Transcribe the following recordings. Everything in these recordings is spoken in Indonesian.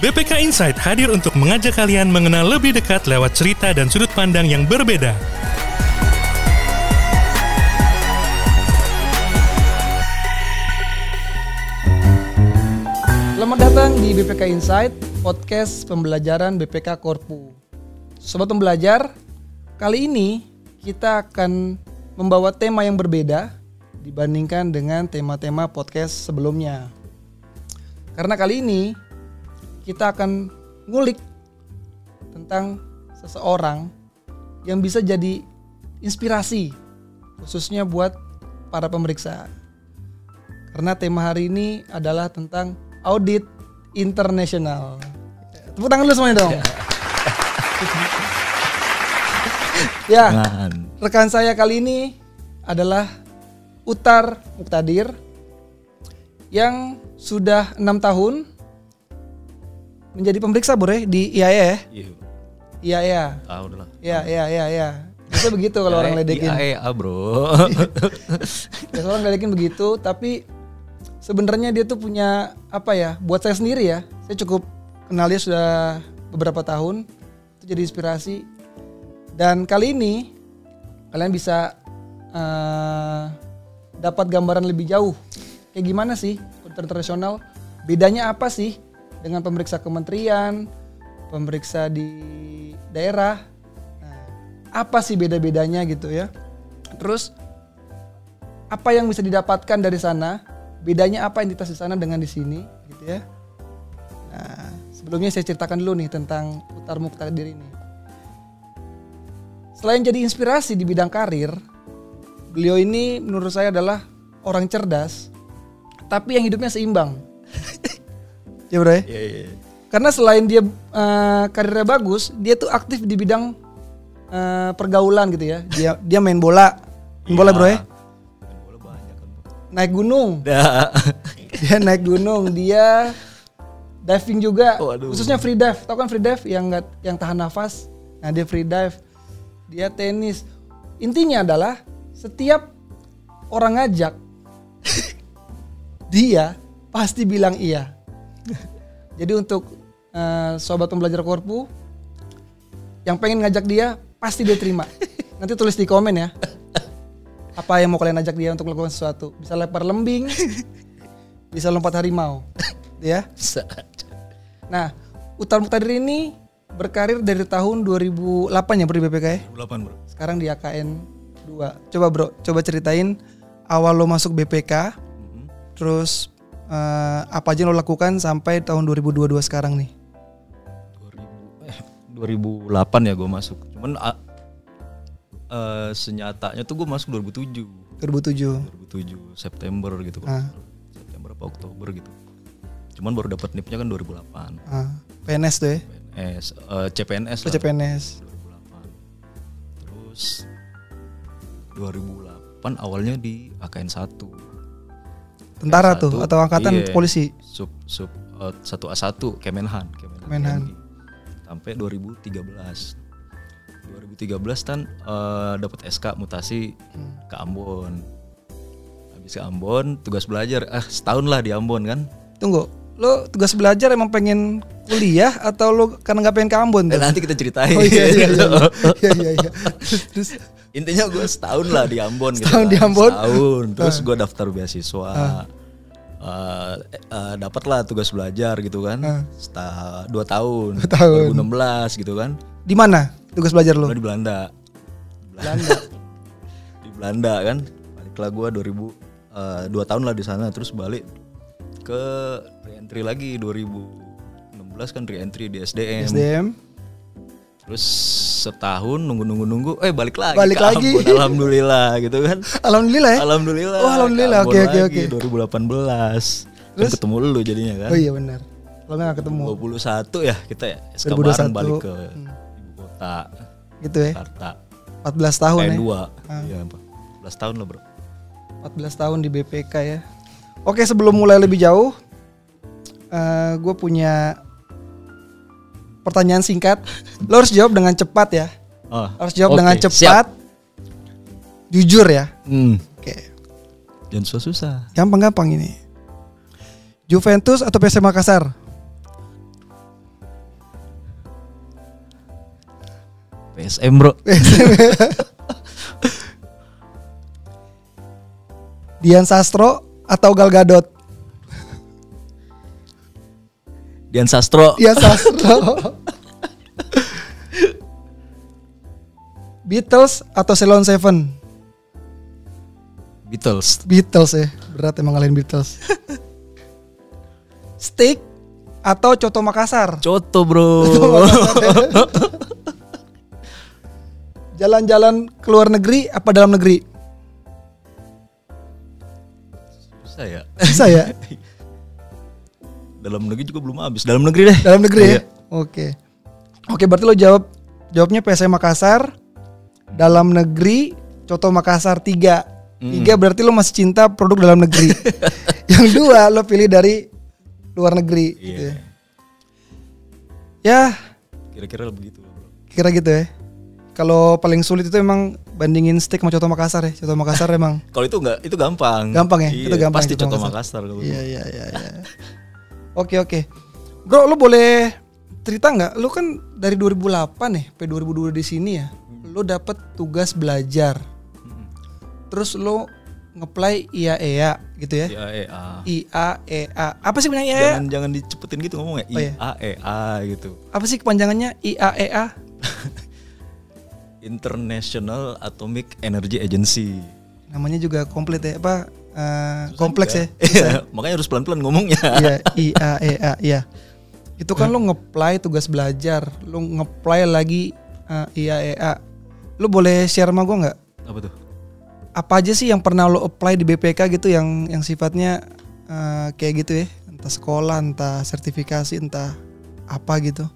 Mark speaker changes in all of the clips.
Speaker 1: BPK Insight hadir untuk mengajak kalian mengenal lebih dekat lewat cerita dan sudut pandang yang berbeda.
Speaker 2: Selamat datang di BPK Insight, podcast pembelajaran BPK Korpu. Sobat pembelajar, kali ini kita akan membawa tema yang berbeda dibandingkan dengan tema-tema podcast sebelumnya. Karena kali ini kita akan ngulik tentang seseorang yang bisa jadi inspirasi khususnya buat para pemeriksa. Karena tema hari ini adalah tentang audit internasional. Tepuk tangan dulu semuanya dong. ya,
Speaker 3: Nah,
Speaker 2: rekan saya kali ini adalah Utar Muktadir yang sudah enam tahun menjadi pemeriksa bore di E. IAE.
Speaker 3: Iya,
Speaker 2: Iya iya.
Speaker 3: tahu dah lah.
Speaker 2: Iya iya iya iya. Itu begitu
Speaker 3: Ya,
Speaker 2: kalau orang ledekin.
Speaker 3: IAEA, iya, bro.
Speaker 2: Ya, orang ledekin begitu, tapi sebenarnya dia tuh punya apa ya? Buat saya sendiri ya, saya cukup kenal dia sudah beberapa tahun, itu jadi inspirasi. Dan kali ini kalian bisa eh, dapat gambaran lebih jauh. Kayak gimana sih auditor internasional? Bedanya apa sih dengan pemeriksa kementerian, pemeriksa di daerah? Nah, apa sih beda-bedanya gitu ya? Terus apa yang bisa didapatkan dari sana bedanya apa entitas di sana dengan di sini gitu ya nah sebelumnya saya ceritakan dulu nih tentang Utar Muktadir ini selain jadi inspirasi di bidang karir beliau ini menurut saya adalah orang cerdas tapi yang hidupnya seimbang ya bro ya?
Speaker 3: Iya, iya.
Speaker 2: karena selain dia eh, karirnya bagus dia tuh aktif di bidang eh, pergaulan gitu ya dia dia main bola main bola bro ya
Speaker 3: Bola banyak kan, Bro.
Speaker 2: naik gunung
Speaker 3: Dah.
Speaker 2: dia naik gunung dia diving juga
Speaker 3: Waduh.
Speaker 2: khususnya free dive tau kan free dive yang nggak yang tahan nafas nah dia free dive dia tenis intinya adalah setiap orang ngajak dia pasti bilang iya jadi untuk eh, sobat pembelajar korpu yang pengen ngajak dia pasti dia terima nanti tulis di komen ya apa yang mau kalian ajak dia untuk melakukan sesuatu bisa lempar lembing bisa lompat harimau ya
Speaker 3: Bisa.
Speaker 2: nah Utar Muktadir ini berkarir dari tahun 2008 ya bro di BPK ya
Speaker 3: 8, Bro.
Speaker 2: sekarang di AKN 2 coba bro coba ceritain awal lo masuk BPK
Speaker 3: Mhm.
Speaker 2: terus eh, apa aja yang lo lakukan sampai tahun 2022 sekarang nih
Speaker 3: 2000 eh 2008 ya gue masuk. Cuman a- eh, senyatanya tuh gue masuk 2007.
Speaker 2: 2007
Speaker 3: 2007 September gitu, Bro.
Speaker 2: Ah.
Speaker 3: September apa Oktober gitu. Cuman baru dapat NIP-nya kan 2008.
Speaker 2: Ah, PNS tuh ya
Speaker 3: PNS, eh, CPNS
Speaker 2: Lo
Speaker 3: lah.
Speaker 2: CPNS
Speaker 3: 2008. Terus 2008 awalnya di AKN 1.
Speaker 2: tentara
Speaker 3: Satu,
Speaker 2: tuh atau angkatan
Speaker 3: iya.
Speaker 2: polisi
Speaker 3: sub sub eh, 1A1 Kemenhan Kemenhan,
Speaker 2: Kemenhan.
Speaker 3: TNI. sampai 2013 2013 kan eh, dapat SK mutasi
Speaker 2: Hmm.
Speaker 3: ke Ambon habis ke Ambon tugas belajar ah setahun lah di Ambon kan
Speaker 2: tunggu lo tugas belajar emang pengen kuliah atau lo karena nggak pengen ke Ambon
Speaker 3: Eh,
Speaker 2: tuh?
Speaker 3: nanti kita ceritain
Speaker 2: Oh iya iya iya. iya iya iya. Terus
Speaker 3: intinya gue setahun lah di Ambon gitu
Speaker 2: Setahun
Speaker 3: kan.
Speaker 2: di Ambon. Ah.
Speaker 3: Setahun. terus gue daftar beasiswa Eh, eh, eh, dapat lah tugas belajar gitu kan Seta- dua
Speaker 2: Ah.
Speaker 3: tahun
Speaker 2: Dua tahun.
Speaker 3: 2016 gitu kan
Speaker 2: di mana tugas belajar lo?
Speaker 3: Gua di Belanda Belanda di Belanda kan baliklah gue 2000 eh, dua tahun lah di sana terus balik ke reentry lagi 2016 kan reentry di SDM
Speaker 2: SDM.
Speaker 3: Terus setahun nunggu-nunggu-nunggu, eh balik lagi.
Speaker 2: Balik
Speaker 3: ke
Speaker 2: lagi.
Speaker 3: Ambon, alhamdulillah gitu kan.
Speaker 2: Alhamdulillah ya.
Speaker 3: Alhamdulillah.
Speaker 2: Oh, alhamdulillah.
Speaker 3: ke
Speaker 2: Oke,
Speaker 3: Ambon
Speaker 2: oke,
Speaker 3: lagi, 2018. Terus ketemu lu jadinya kan.
Speaker 2: Oh iya benar. Lo nggak ketemu
Speaker 3: 21 ya kita ya. SK
Speaker 2: 2021.
Speaker 3: bareng balik ke ibu kota
Speaker 2: gitu ya.
Speaker 3: Jakarta.
Speaker 2: 14 tahun ya.
Speaker 3: Tahun 2. Iya, 14 tahun lah, Bro.
Speaker 2: 14 tahun di BPK ya. Oke sebelum mulai lebih jauh, gue punya pertanyaan singkat. Lo harus jawab dengan cepat ya.
Speaker 3: Oh.
Speaker 2: Harus jawab
Speaker 3: oke,
Speaker 2: dengan
Speaker 3: siap.
Speaker 2: cepat, jujur ya.
Speaker 3: Hmm.
Speaker 2: Oke,
Speaker 3: Jangan susah-susah.
Speaker 2: gampang-gampang ini. Juventus atau PSM Makassar?
Speaker 3: PSM bro
Speaker 2: Dian Sastro atau Gal Gadot?
Speaker 3: Dian Sastro
Speaker 2: Dian Sastro. Beatles atau Ceylon Seven?
Speaker 3: Beatles
Speaker 2: Beatles ya, berat emang ngalahin Beatles. Steak atau coto Makassar? eh.
Speaker 3: Coto bro
Speaker 2: Jalan-jalan ke luar negeri apa dalam negeri?
Speaker 3: Susah ya
Speaker 2: Bisa ya?
Speaker 3: Dalam negeri juga belum habis Dalam negeri deh
Speaker 2: Dalam negeri ya?
Speaker 3: Iya.
Speaker 2: Oke. Oke, berarti lo jawab jawabnya PSM Makassar. Dalam negeri Coto Makassar 3.
Speaker 3: Hmm.
Speaker 2: Tiga berarti lo masih cinta produk dalam negeri. Yang dua lo pilih dari luar negeri gitu
Speaker 3: Iya.
Speaker 2: ya. Ya,
Speaker 3: Kira-kira begitu bro.
Speaker 2: kira gitu ya. Kalau paling sulit itu emang bandingin stick sama Coto Makassar ya. Coto Makassar emang.
Speaker 3: Kalau itu enggak Itu gampang
Speaker 2: Gampang ya?
Speaker 3: Iya,
Speaker 2: Itu gampang
Speaker 3: Pasti
Speaker 2: itu
Speaker 3: Coto
Speaker 2: Makassar.
Speaker 3: Makassar kalau
Speaker 2: Iya, iya, iya, iya. Oke, oke. Bro, lo boleh cerita nggak? Lo kan dari 2008 nih, ya, sampai 2002 di sini ya. Lo dapet tugas belajar. Hmm. Terus lo ngeplay IAEA gitu ya.
Speaker 3: IAEA
Speaker 2: IAEA. Apa sih benar IAEA?
Speaker 3: E Jangan jangan dicepetin gitu ngomongnya
Speaker 2: Iya. Oh, iya.
Speaker 3: IAEA gitu
Speaker 2: Apa sih kepanjangannya E IAEA?
Speaker 3: International Atomic Energy Agency
Speaker 2: Namanya juga komplit ya, apa? eh, kompleks ya.
Speaker 3: Iya, Makanya harus pelan-pelan ngomongnya
Speaker 2: Iya, IAEA, iya. Itu
Speaker 3: Iya.
Speaker 2: kan lo ngeplay tugas belajar, lo ngeplay lagi eh, IAEA. Lo boleh share sama gue nggak?
Speaker 3: Apa tuh?
Speaker 2: Apa aja sih yang pernah lo apply di BPK gitu yang yang sifatnya eh, kayak gitu ya? Entah sekolah, entah sertifikasi, entah apa gitu.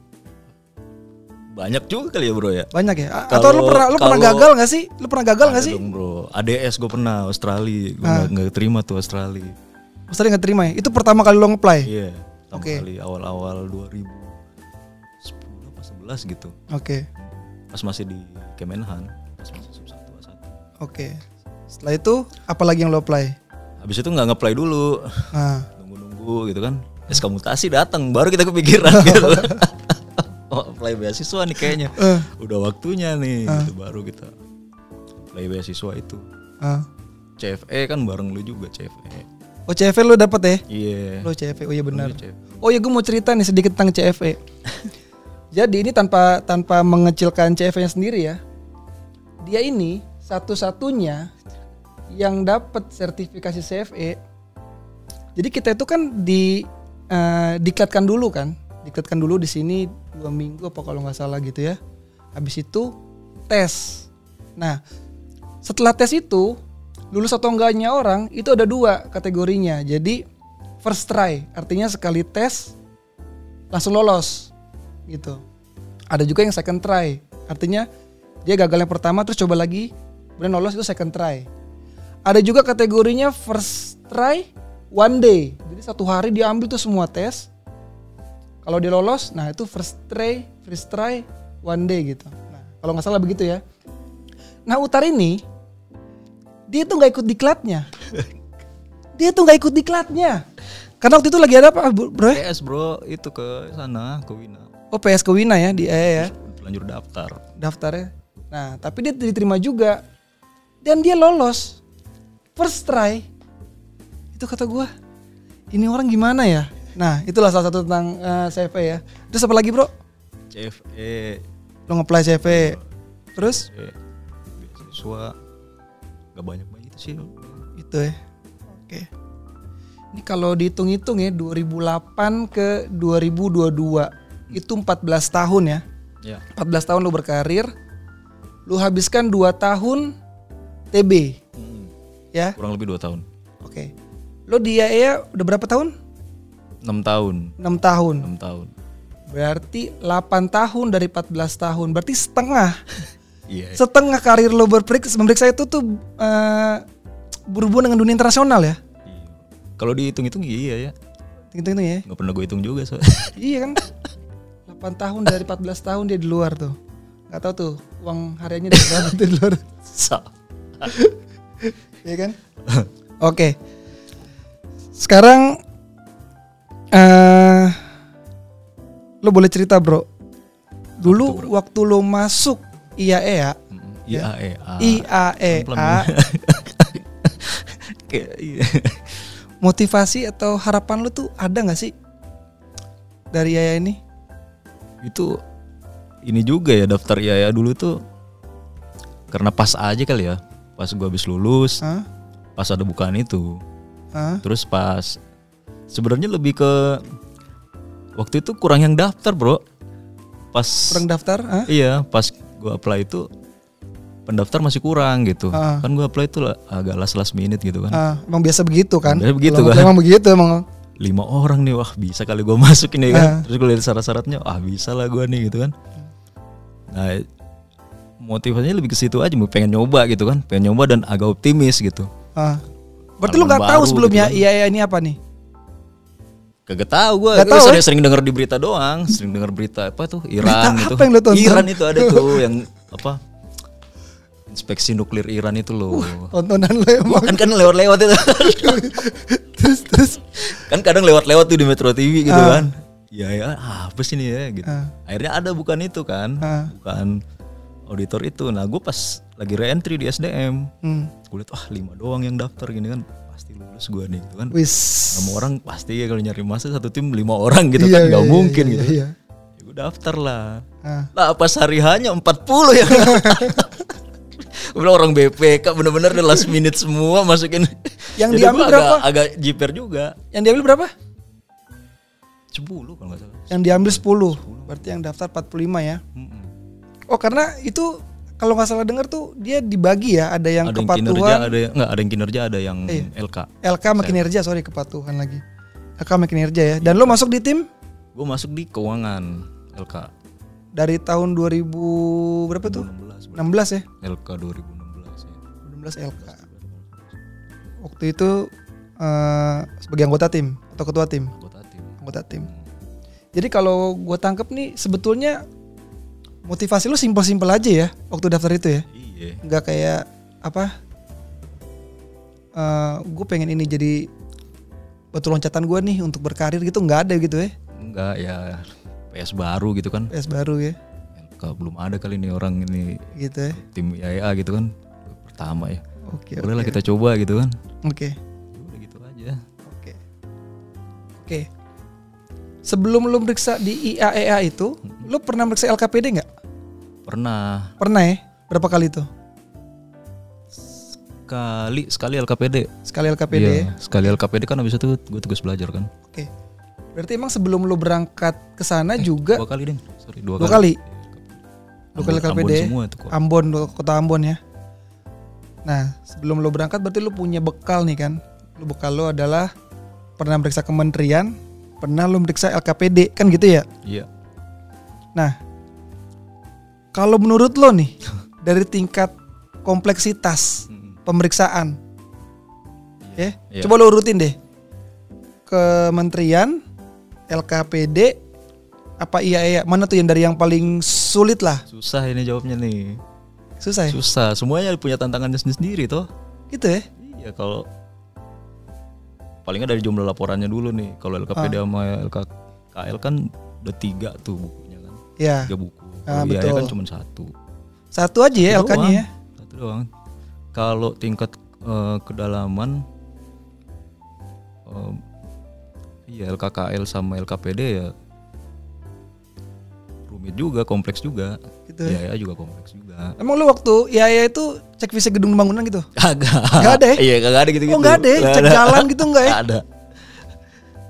Speaker 3: Banyak juga kali ya bro ya
Speaker 2: Banyak ya? A- Atau lo
Speaker 3: Kalau-
Speaker 2: pernah lo pernah
Speaker 3: kalau-
Speaker 2: gagal nggak sih? Lo pernah gagal nggak
Speaker 3: Ada
Speaker 2: sih? Ah.
Speaker 3: dong, bro. ADS gue pernah Australia, gue nggak nggak terima tuh Australia.
Speaker 2: Maksudnya nggak terima ya? Itu pertama kali lo ngeplay.
Speaker 3: Iya, pertama
Speaker 2: Oke.
Speaker 3: kali awal-awal 2010 apa 11 gitu.
Speaker 2: Oke,
Speaker 3: Pas masih di Kemenhan, pas masih sub 1 A1.
Speaker 2: oke. Setelah itu apa lagi yang lo apply?
Speaker 3: Habis itu nggak ngeplay dulu.
Speaker 2: Nah,
Speaker 3: Nunggu-nunggu gitu kan. SK mutasi datang, baru kita kepikiran gitu. Oh, apply beasiswa nih kayaknya.
Speaker 2: Eh.
Speaker 3: Udah waktunya nih, gitu baru kita apply beasiswa itu.
Speaker 2: ah.
Speaker 3: CFE kan bareng lu juga CFE.
Speaker 2: OCV lo dapet ya?
Speaker 3: Iya. E.
Speaker 2: Lo CFE, oh iya benar.
Speaker 3: Lu CFE.
Speaker 2: Oh iya gue mau cerita nih sedikit tentang CFE. Jadi ini tanpa tanpa mengecilkan CFE-nya sendiri ya. Dia ini satu-satunya yang dapat sertifikasi E CFE. Jadi kita itu kan di eh, diklatkan dulu kan, diklatkan dulu di sini dua minggu apa kalau nggak salah gitu ya. Habis itu tes. Nah setelah tes itu lulus atau enggaknya orang itu ada dua kategorinya. Jadi first try artinya sekali tes langsung lolos gitu. Ada juga yang second try, artinya dia gagal yang pertama terus coba lagi, kemudian lolos itu second try. Ada juga kategorinya first try one day, jadi satu hari dia ambil tuh semua tes. Kalau dia lolos, nah itu first try, first try one day gitu. Nah, kalau nggak salah begitu ya. Nah Utar ini dia tuh nggak ikut diklatnya, dia tuh nggak ikut diklatnya. Karena waktu itu lagi ada apa, Bu- bro? ya?
Speaker 3: PS bro itu ke sana ke Wina
Speaker 2: Oh PS ke Wina ya di EE ya
Speaker 3: lanjut daftar
Speaker 2: daftarnya. Nah tapi dia diterima juga dan dia lolos first try. Itu kata gua ini orang gimana ya? Nah itulah salah satu tentang eh, CV ya. Terus apa lagi bro?
Speaker 3: CFE
Speaker 2: Lo ngeplay CV. Terus
Speaker 3: eh, beasiswa gak banyak banyak itu sih
Speaker 2: itu ya. Oke. Ini kalau dihitung-hitung ya 2008 ke 2022 itu 14 tahun ya.
Speaker 3: ya
Speaker 2: 14 tahun lu berkarir, lu habiskan 2 tahun TB, ya.
Speaker 3: kurang lebih 2 tahun
Speaker 2: Oke. Lu di IAEA udah berapa tahun?
Speaker 3: 6 tahun
Speaker 2: 6 tahun.
Speaker 3: 6 tahun
Speaker 2: Berarti 8 tahun dari 14 tahun. Berarti setengah.
Speaker 3: iya
Speaker 2: setengah karir lu berperiksa memeriksa itu tuh eh, berhubungan dengan dunia internasional ya.
Speaker 3: Iya. kalau dihitung-hitung iya ya
Speaker 2: Gitu-gitu ya.
Speaker 3: nggak pernah gue hitung juga so
Speaker 2: iya kan. 8 tahun dari 14 tahun dia di luar tuh. Gak tahu tuh uang hariannya dari berapa tuh di luar.
Speaker 3: Sa-
Speaker 2: Iya kan? Oke. Sekarang eh lo boleh cerita, Bro. Dulu waktu, lo masuk E IAEA,
Speaker 3: Iya, IAEA.
Speaker 2: IAEA,
Speaker 3: Kayak
Speaker 2: motivasi atau harapan lu tuh ada nggak sih dari IAEA ini?
Speaker 3: itu ini juga ya daftar IAEA dulu tuh karena pas aja kali ya. Pas gua habis lulus,
Speaker 2: Hah?
Speaker 3: pas ada bukaan itu.
Speaker 2: Hah?
Speaker 3: Terus pas sebenarnya lebih ke waktu itu kurang yang daftar, Bro. Pas
Speaker 2: Kurang daftar? Hah?
Speaker 3: Iya, pas gua apply itu pendaftar masih kurang gitu.
Speaker 2: Ah.
Speaker 3: Kan gua apply itu lah- agak last last minute gitu kan.
Speaker 2: Ah, emang biasa begitu kan?
Speaker 3: Biasa begitu
Speaker 2: Kalau
Speaker 3: kan?
Speaker 2: Emang begitu emang.
Speaker 3: Lima orang nih, wah bisa kali gua masuk
Speaker 2: Ah.
Speaker 3: ini kan. Terus gua lihat syarat-syaratnya, ah bisa lah gua nih gitu kan. Nah, motivasinya lebih ke situ aja, mau pengen nyoba gitu kan, pengen nyoba dan agak optimis gitu.
Speaker 2: Ah. Berarti lu
Speaker 3: Harapan
Speaker 2: nggak tahu
Speaker 3: baru
Speaker 2: sebelumnya
Speaker 3: gitu
Speaker 2: IAEA ini apa nih?
Speaker 3: Kagak tahu gua,
Speaker 2: Nggak
Speaker 3: gua
Speaker 2: tahu, eh.
Speaker 3: sering, sering denger di berita doang, sering denger berita apa tuh
Speaker 2: Berita
Speaker 3: Iran itu.
Speaker 2: apa yang lu tonton?
Speaker 3: Iran itu ada tuh yang apa? Inspeksi nuklir Iran itu loh.
Speaker 2: Tontonan lu emang.
Speaker 3: kan kan lewat-lewat itu
Speaker 2: terus terus.
Speaker 3: kan kadang lewat-lewat tuh di Metro TV gitu
Speaker 2: Ah.
Speaker 3: kan ya ya ah, apa sih nih ya gitu
Speaker 2: Ah.
Speaker 3: akhirnya ada bukan itu kan
Speaker 2: Ah.
Speaker 3: bukan auditor itu nah gue pas lagi re-entry di SDM
Speaker 2: Hmm.
Speaker 3: gue liat wah lima doang yang daftar gini kan pasti lulus gue nih gitu kan
Speaker 2: Wis.
Speaker 3: enam orang pasti ya kalau nyari masa satu tim lima orang gitu
Speaker 2: Iya,
Speaker 3: kan nggak
Speaker 2: iya,
Speaker 3: mungkin
Speaker 2: iya,
Speaker 3: gitu
Speaker 2: iya,
Speaker 3: ya gue daftar lah
Speaker 2: Ah.
Speaker 3: lah pas hari hanya 40 ya gue bilang orang BPK bener-bener deh last minute semua masukin
Speaker 2: Yang
Speaker 3: Jadi
Speaker 2: diambil
Speaker 3: gua
Speaker 2: berapa?
Speaker 3: agak, agak jiper juga
Speaker 2: Yang diambil berapa?
Speaker 3: 10 kalau nggak salah
Speaker 2: Yang diambil 10. Berarti yang daftar 45 ya.
Speaker 3: Mm-mm.
Speaker 2: Oh, karena itu kalau nggak salah dengar tuh dia dibagi ya, ada yang
Speaker 3: ada yang kinerja
Speaker 2: kepatuhan,
Speaker 3: ada yang nggak ada yang kinerja ada yang
Speaker 2: Iya.
Speaker 3: LK
Speaker 2: LK sama kinerja, sorry kepatuhan lagi. LK sama kinerja ya.
Speaker 3: Iya.
Speaker 2: Dan lo masuk di tim
Speaker 3: gue masuk di keuangan LK
Speaker 2: dari tahun 2000 berapa tuh?
Speaker 3: 2016
Speaker 2: 16 ya.
Speaker 3: berarti. LK 2016 ya.
Speaker 2: 16 LK. Waktu itu eh, sebagai anggota tim atau ketua tim,
Speaker 3: anggota tim
Speaker 2: anggota tim. Jadi kalau gue tangkep nih sebetulnya motivasi lu simpel-simpel aja ya waktu daftar itu ya.
Speaker 3: iya
Speaker 2: Nggak kayak apa? gue pengen ini jadi batu loncatan gue nih untuk berkarir gitu nggak ada gitu ya
Speaker 3: enggak ya PS baru gitu kan
Speaker 2: PS baru ya
Speaker 3: LK belum ada kali nih orang ini
Speaker 2: gitu ya
Speaker 3: tim IAEA gitu kan pertama ya
Speaker 2: oke
Speaker 3: boleh lah kita coba gitu kan
Speaker 2: oke
Speaker 3: udah gitu aja
Speaker 2: Oke. Oke. Sebelum lu meriksa di IAEA itu, lu pernah meriksa LKPD nggak?
Speaker 3: pernah
Speaker 2: Pernah ya? Berapa kali itu?
Speaker 3: sekali sekali LKPD
Speaker 2: Sekali LKPD ya?
Speaker 3: Iya, sekali LKPD kan habis itu gue tugas belajar kan
Speaker 2: Oke. Berarti emang sebelum lu berangkat ke
Speaker 3: Eh,
Speaker 2: sana juga
Speaker 3: dua kali deh sorry dua,
Speaker 2: dua kali? Dua
Speaker 3: kan
Speaker 2: kali
Speaker 3: Ambon-
Speaker 2: LKPD
Speaker 3: Ambon
Speaker 2: ya?
Speaker 3: semua itu kok
Speaker 2: Ambon, lu- kota Ambon ya? Nah, sebelum lu berangkat berarti lu punya bekal nih kan? Lu bekal lu adalah pernah meriksa kementerian, pernah lu meriksa LKPD, kan gitu ya?
Speaker 3: iya
Speaker 2: Nah, kalau menurut lo nih dari tingkat kompleksitas pemeriksaan, ya,
Speaker 3: Iya.
Speaker 2: coba lo urutin deh. Kementerian, LKPD, apa IAEA, mana tuh yang dari yang paling sulit lah,
Speaker 3: susah ini jawabnya nih
Speaker 2: susah ya?
Speaker 3: susah semuanya punya tantangannya sendiri toh
Speaker 2: Gitu ya?
Speaker 3: iya kalau palingnya dari jumlah laporannya dulu nih kalau LKPD
Speaker 2: Ah.
Speaker 3: sama LKKL kan udah tiga tuh bukunya kan
Speaker 2: Ya,
Speaker 3: tiga buku
Speaker 2: Ah,
Speaker 3: Kalau IAEA
Speaker 2: betul.
Speaker 3: kan cuma satu
Speaker 2: satu aja ya
Speaker 3: Satu
Speaker 2: LK-nya
Speaker 3: doang.
Speaker 2: ya.
Speaker 3: Satu doang. Kalau tingkat eh, kedalaman eh, iya LKKL sama LKPD ya rumit juga, kompleks juga.
Speaker 2: Gitu ya.
Speaker 3: Ya, juga kompleks juga.
Speaker 2: Emang lo waktu IAEA itu cek fisik gedung bangunan gitu?
Speaker 3: Kagak.
Speaker 2: Nggak ada ya?
Speaker 3: Iya, kagak ada gitu-gitu.
Speaker 2: Oh nggak ada, ya? cek jalan gitu nggak ya?
Speaker 3: Nggak ada.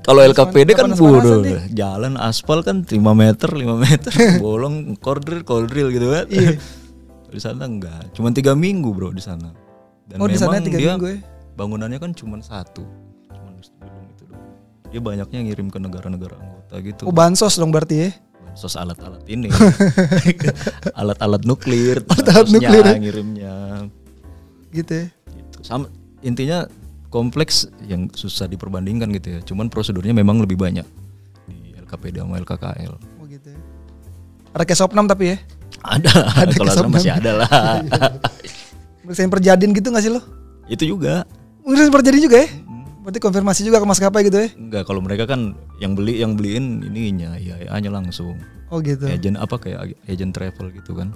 Speaker 3: Kalau LKPD kan
Speaker 2: panas-panasan
Speaker 3: bodoh.
Speaker 2: nih.
Speaker 3: Jalan aspal kan 5 meter, 5 meter, bolong kordril, kordril gitu kan.
Speaker 2: Iya.
Speaker 3: di sana enggak, cuman tiga minggu bro di sana. Dan
Speaker 2: Oh, di sana tiga
Speaker 3: dia
Speaker 2: minggu ya?
Speaker 3: bangunannya kan cuman satu, cuman gedung itu doang. Dia banyaknya ngirim ke negara-negara anggota gitu.
Speaker 2: Oh bansos dong berarti ya?
Speaker 3: Bansos alat-alat ini, alat-alat nuklir,
Speaker 2: Alat-alat
Speaker 3: harusnya
Speaker 2: nuklir ya?
Speaker 3: ngirimnya
Speaker 2: Gitu ya?
Speaker 3: gitu. Sama intinya kompleks yang susah diperbandingkan gitu ya. Cuman prosedurnya memang lebih banyak di LKPD sama LKKL.
Speaker 2: Oh gitu ya. Ada kayak Sopnam tapi ya?
Speaker 3: Ada, kalau ada masih ada lah.
Speaker 2: Meriksain perjadian gitu gak sih lo?
Speaker 3: Itu juga.
Speaker 2: Meriksain perjadian juga ya? Berarti konfirmasi juga ke maskapai gitu ya?
Speaker 3: Enggak, kalau mereka kan yang beli yang beliin ininya ya hanya langsung.
Speaker 2: Oh gitu.
Speaker 3: Agent apa kayak agen travel gitu kan.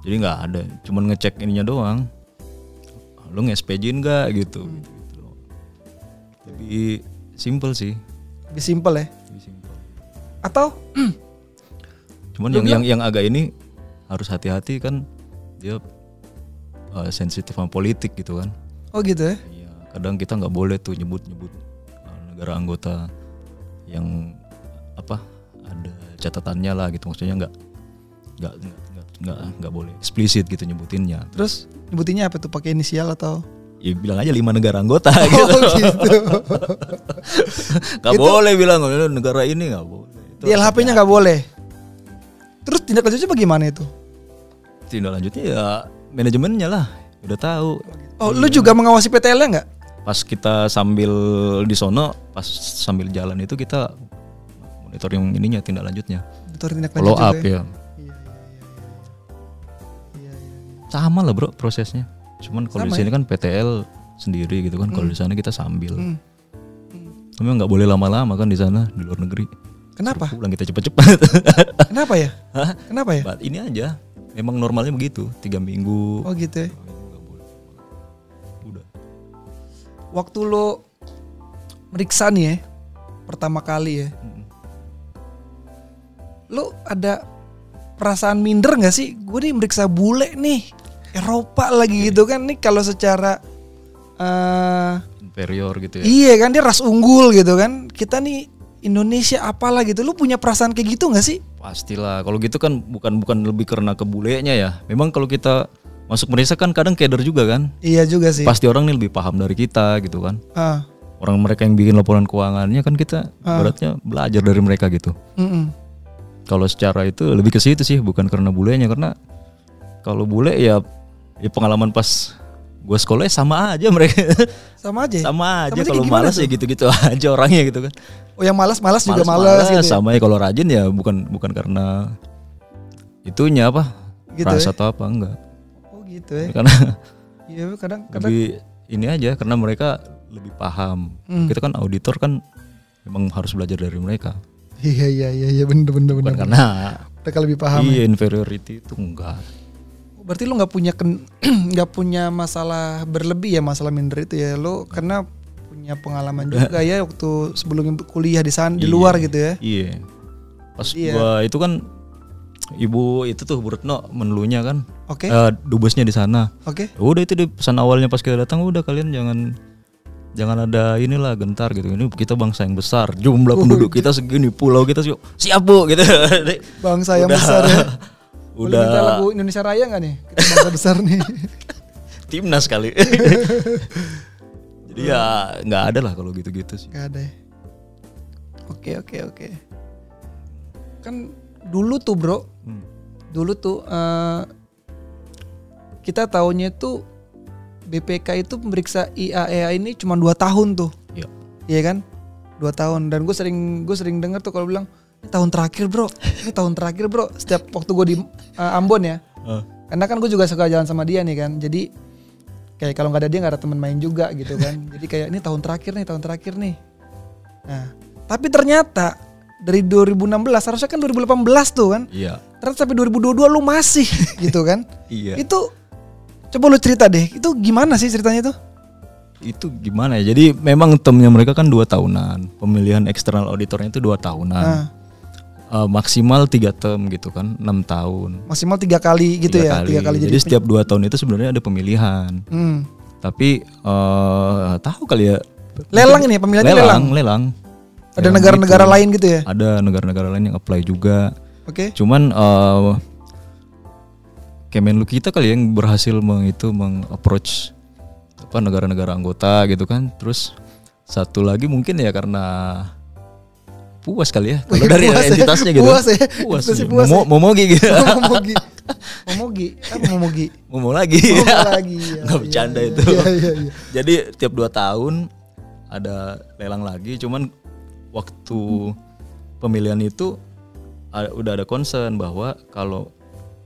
Speaker 3: jadi nggak ada cuman ngecek ininya doang lu nge-SPJ-in nggak gitu, gitu, gitu. lebih simple sih
Speaker 2: Lebih simple ya.
Speaker 3: lebih simple
Speaker 2: Atau
Speaker 3: Mm. cuman yang yang yang agak ini harus hati-hati kan dia eh, sensitif sama politik gitu kan
Speaker 2: oh gitu ya.
Speaker 3: Iya, kadang kita nggak boleh tuh nyebut-nyebut uh, negara anggota yang apa ada catatannya lah gitu maksudnya nggak nggak nggak- nggak nggak nggak boleh eksplisit gitu nyebutinnya.
Speaker 2: Terus nyebutinnya apa tuh pakai inisial atau
Speaker 3: Ya bilang aja lima negara anggota gitu.
Speaker 2: Oh gitu.
Speaker 3: Nggak boleh bilang "Eh, negara ini nggak boleh. Itu
Speaker 2: Di LHP-nya nggak boleh. Terus tindak lanjutnya bagaimana itu?
Speaker 3: tindak lanjutnya ya manajemennya lah udah tahu.
Speaker 2: Oh, lu
Speaker 3: Iya.
Speaker 2: juga mengawasi PTL-nya nggak?
Speaker 3: Pas kita sambil di sono, pas sambil jalan itu kita monitoring ininya tindak lanjutnya.
Speaker 2: Itu tindak lanjut
Speaker 3: Follow
Speaker 2: juga
Speaker 3: up ya.
Speaker 2: Iya, iya, iya, iya. Iya, iya.
Speaker 3: sama lah bro prosesnya cuman kalau di
Speaker 2: Sama ya?
Speaker 3: sini kan PTL sendiri gitu kan kalau di sana kita sambil
Speaker 2: Hmm.
Speaker 3: tapi nggak boleh lama-lama kan di sana di luar negeri
Speaker 2: Kenapa?
Speaker 3: pulang kita cepet-cepet
Speaker 2: Kenapa ya? Kenapa ya?
Speaker 3: But ini aja memang normalnya begitu tiga minggu
Speaker 2: Oh gitu ya. Oh.
Speaker 3: udah
Speaker 2: Waktu lo meriksa nih ya, pertama kali ya, lo ada perasaan minder nggak sih? Gue nih meriksa bule nih, Eropa lagi gitu kan nih kalau secara eh
Speaker 3: inferior gitu ya
Speaker 2: iya kan dia ras unggul gitu kan, kita nih Indonesia apalah gitu, lo punya perasaan kayak gitu nggak sih?
Speaker 3: pastilah kalau gitu kan bukan bukan lebih karena kebulenya ya memang kalau kita masuk Malaysia kan kadang keder juga kan
Speaker 2: Iya juga sih.
Speaker 3: pasti orang nih lebih paham dari kita gitu kan
Speaker 2: Ah,
Speaker 3: orang mereka yang bikin laporan keuangannya kan kita beratnya belajar dari mereka gitu
Speaker 2: mm-mm.
Speaker 3: kalau secara itu lebih ke situ sih bukan karena bulenya karena kalau bule ya, ya pengalaman pas gue sekolah ya sama aja mereka
Speaker 2: sama aja. ya?
Speaker 3: sama aja
Speaker 2: aja
Speaker 3: kalau
Speaker 2: kayak gimana
Speaker 3: malas ya gitu-gitu aja orangnya gitu kan
Speaker 2: Oh yang malas-malas juga malas, gitu. ya?
Speaker 3: Malas-malas, sama ya kalau rajin ya bukan bukan karena itunya apa
Speaker 2: Gitu
Speaker 3: rasa atau apa enggak
Speaker 2: Oh gitu ya.
Speaker 3: karena
Speaker 2: Iya kadang kadang
Speaker 3: lebih ini aja karena mereka lebih paham
Speaker 2: Hmm.
Speaker 3: kita kan auditor kan memang harus belajar dari mereka
Speaker 2: Iya iya iya iya bener bener bener.
Speaker 3: bukan karena
Speaker 2: Mereka lebih paham. ya.
Speaker 3: iya inferiority itu enggak
Speaker 2: Berarti lu nggak punya ken- nggak punya masalah berlebih ya masalah minder itu ya lu karena punya pengalaman juga ya waktu sebelum kuliah di sana di luar gitu ya. Iya.
Speaker 3: Iya. Pas gua itu kan ibu itu tuh Bu Retno menelunya kan.
Speaker 2: Oke
Speaker 3: Eh, dubesnya di sana.
Speaker 2: oke.
Speaker 3: Udah itu di pesan awalnya pas kita datang udah kalian jangan jangan ada inilah gentar gitu. Ini kita bangsa yang besar, jumlah
Speaker 2: iya.
Speaker 3: penduduk kita segini, pulau kita segini. Siap Bu gitu.
Speaker 2: Bangsa yang besar ya. Boleh
Speaker 3: udah
Speaker 2: minta lagu Indonesia Raya nggak nih? Kita bangsa besar nih.
Speaker 3: timnas kali. Jadi ya nggak ada lah kalau gitu-gitu sih.
Speaker 2: Gak ada. ya. Oke oke oke. Kan dulu tuh bro, dulu tuh eh, kita tahunya tuh BPK itu pemeriksa IAEA E ini cuma dua tahun tuh,
Speaker 3: Iya.
Speaker 2: iya kan? Dua tahun. Dan gue sering gue sering dengar tuh kalau bilang ini tahun terakhir bro, ini tahun terakhir bro. Setiap waktu gue di eh, Ambon ya,
Speaker 3: Eh,
Speaker 2: karena kan gue juga suka jalan sama dia nih kan jadi kayak kalau nggak ada dia nggak ada teman main juga gitu kan jadi kayak ini tahun terakhir nih tahun terakhir nih nah tapi ternyata dari 2016 harusnya kan 2018 tuh kan
Speaker 3: Iya.
Speaker 2: ternyata sampai 2022 lu masih gitu kan
Speaker 3: Iya.
Speaker 2: itu coba lu cerita deh itu gimana sih ceritanya tuh
Speaker 3: itu gimana ya jadi memang termnya mereka kan dua tahunan pemilihan eksternal auditornya itu dua tahunan
Speaker 2: Ah.
Speaker 3: Eh, maksimal tiga term gitu kan enam tahun
Speaker 2: maksimal tiga kali gitu ya tiga kali
Speaker 3: jadi,
Speaker 2: jadi,
Speaker 3: setiap dua tahun itu sebenarnya ada pemilihan
Speaker 2: Hmm.
Speaker 3: tapi eh tahu kali ya
Speaker 2: lelang ini ya, pemilihannya lelang,
Speaker 3: lelang lelang.
Speaker 2: ada
Speaker 3: Lelang
Speaker 2: negara-negara
Speaker 3: gitu.
Speaker 2: lain gitu ya
Speaker 3: ada negara-negara lain yang apply juga
Speaker 2: oke
Speaker 3: cuman eh Kemenlu kita kali ya yang berhasil meng itu mengapproach apa negara-negara anggota gitu kan terus satu lagi mungkin ya karena puas kali ya kalau dari
Speaker 2: Puas ya,
Speaker 3: entitasnya gitu
Speaker 2: puas ya,
Speaker 3: puas,
Speaker 2: instansi puas ya.
Speaker 3: mau mau mau gitu
Speaker 2: momogi momogi apa momogi
Speaker 3: mau mau lagi
Speaker 2: Oh, lagi ya.
Speaker 3: Iya. nggak bercanda itu
Speaker 2: Iya, iya, iya.
Speaker 3: jadi tiap dua tahun ada lelang lagi cuman waktu pemilihan itu ada- udah ada concern bahwa kalau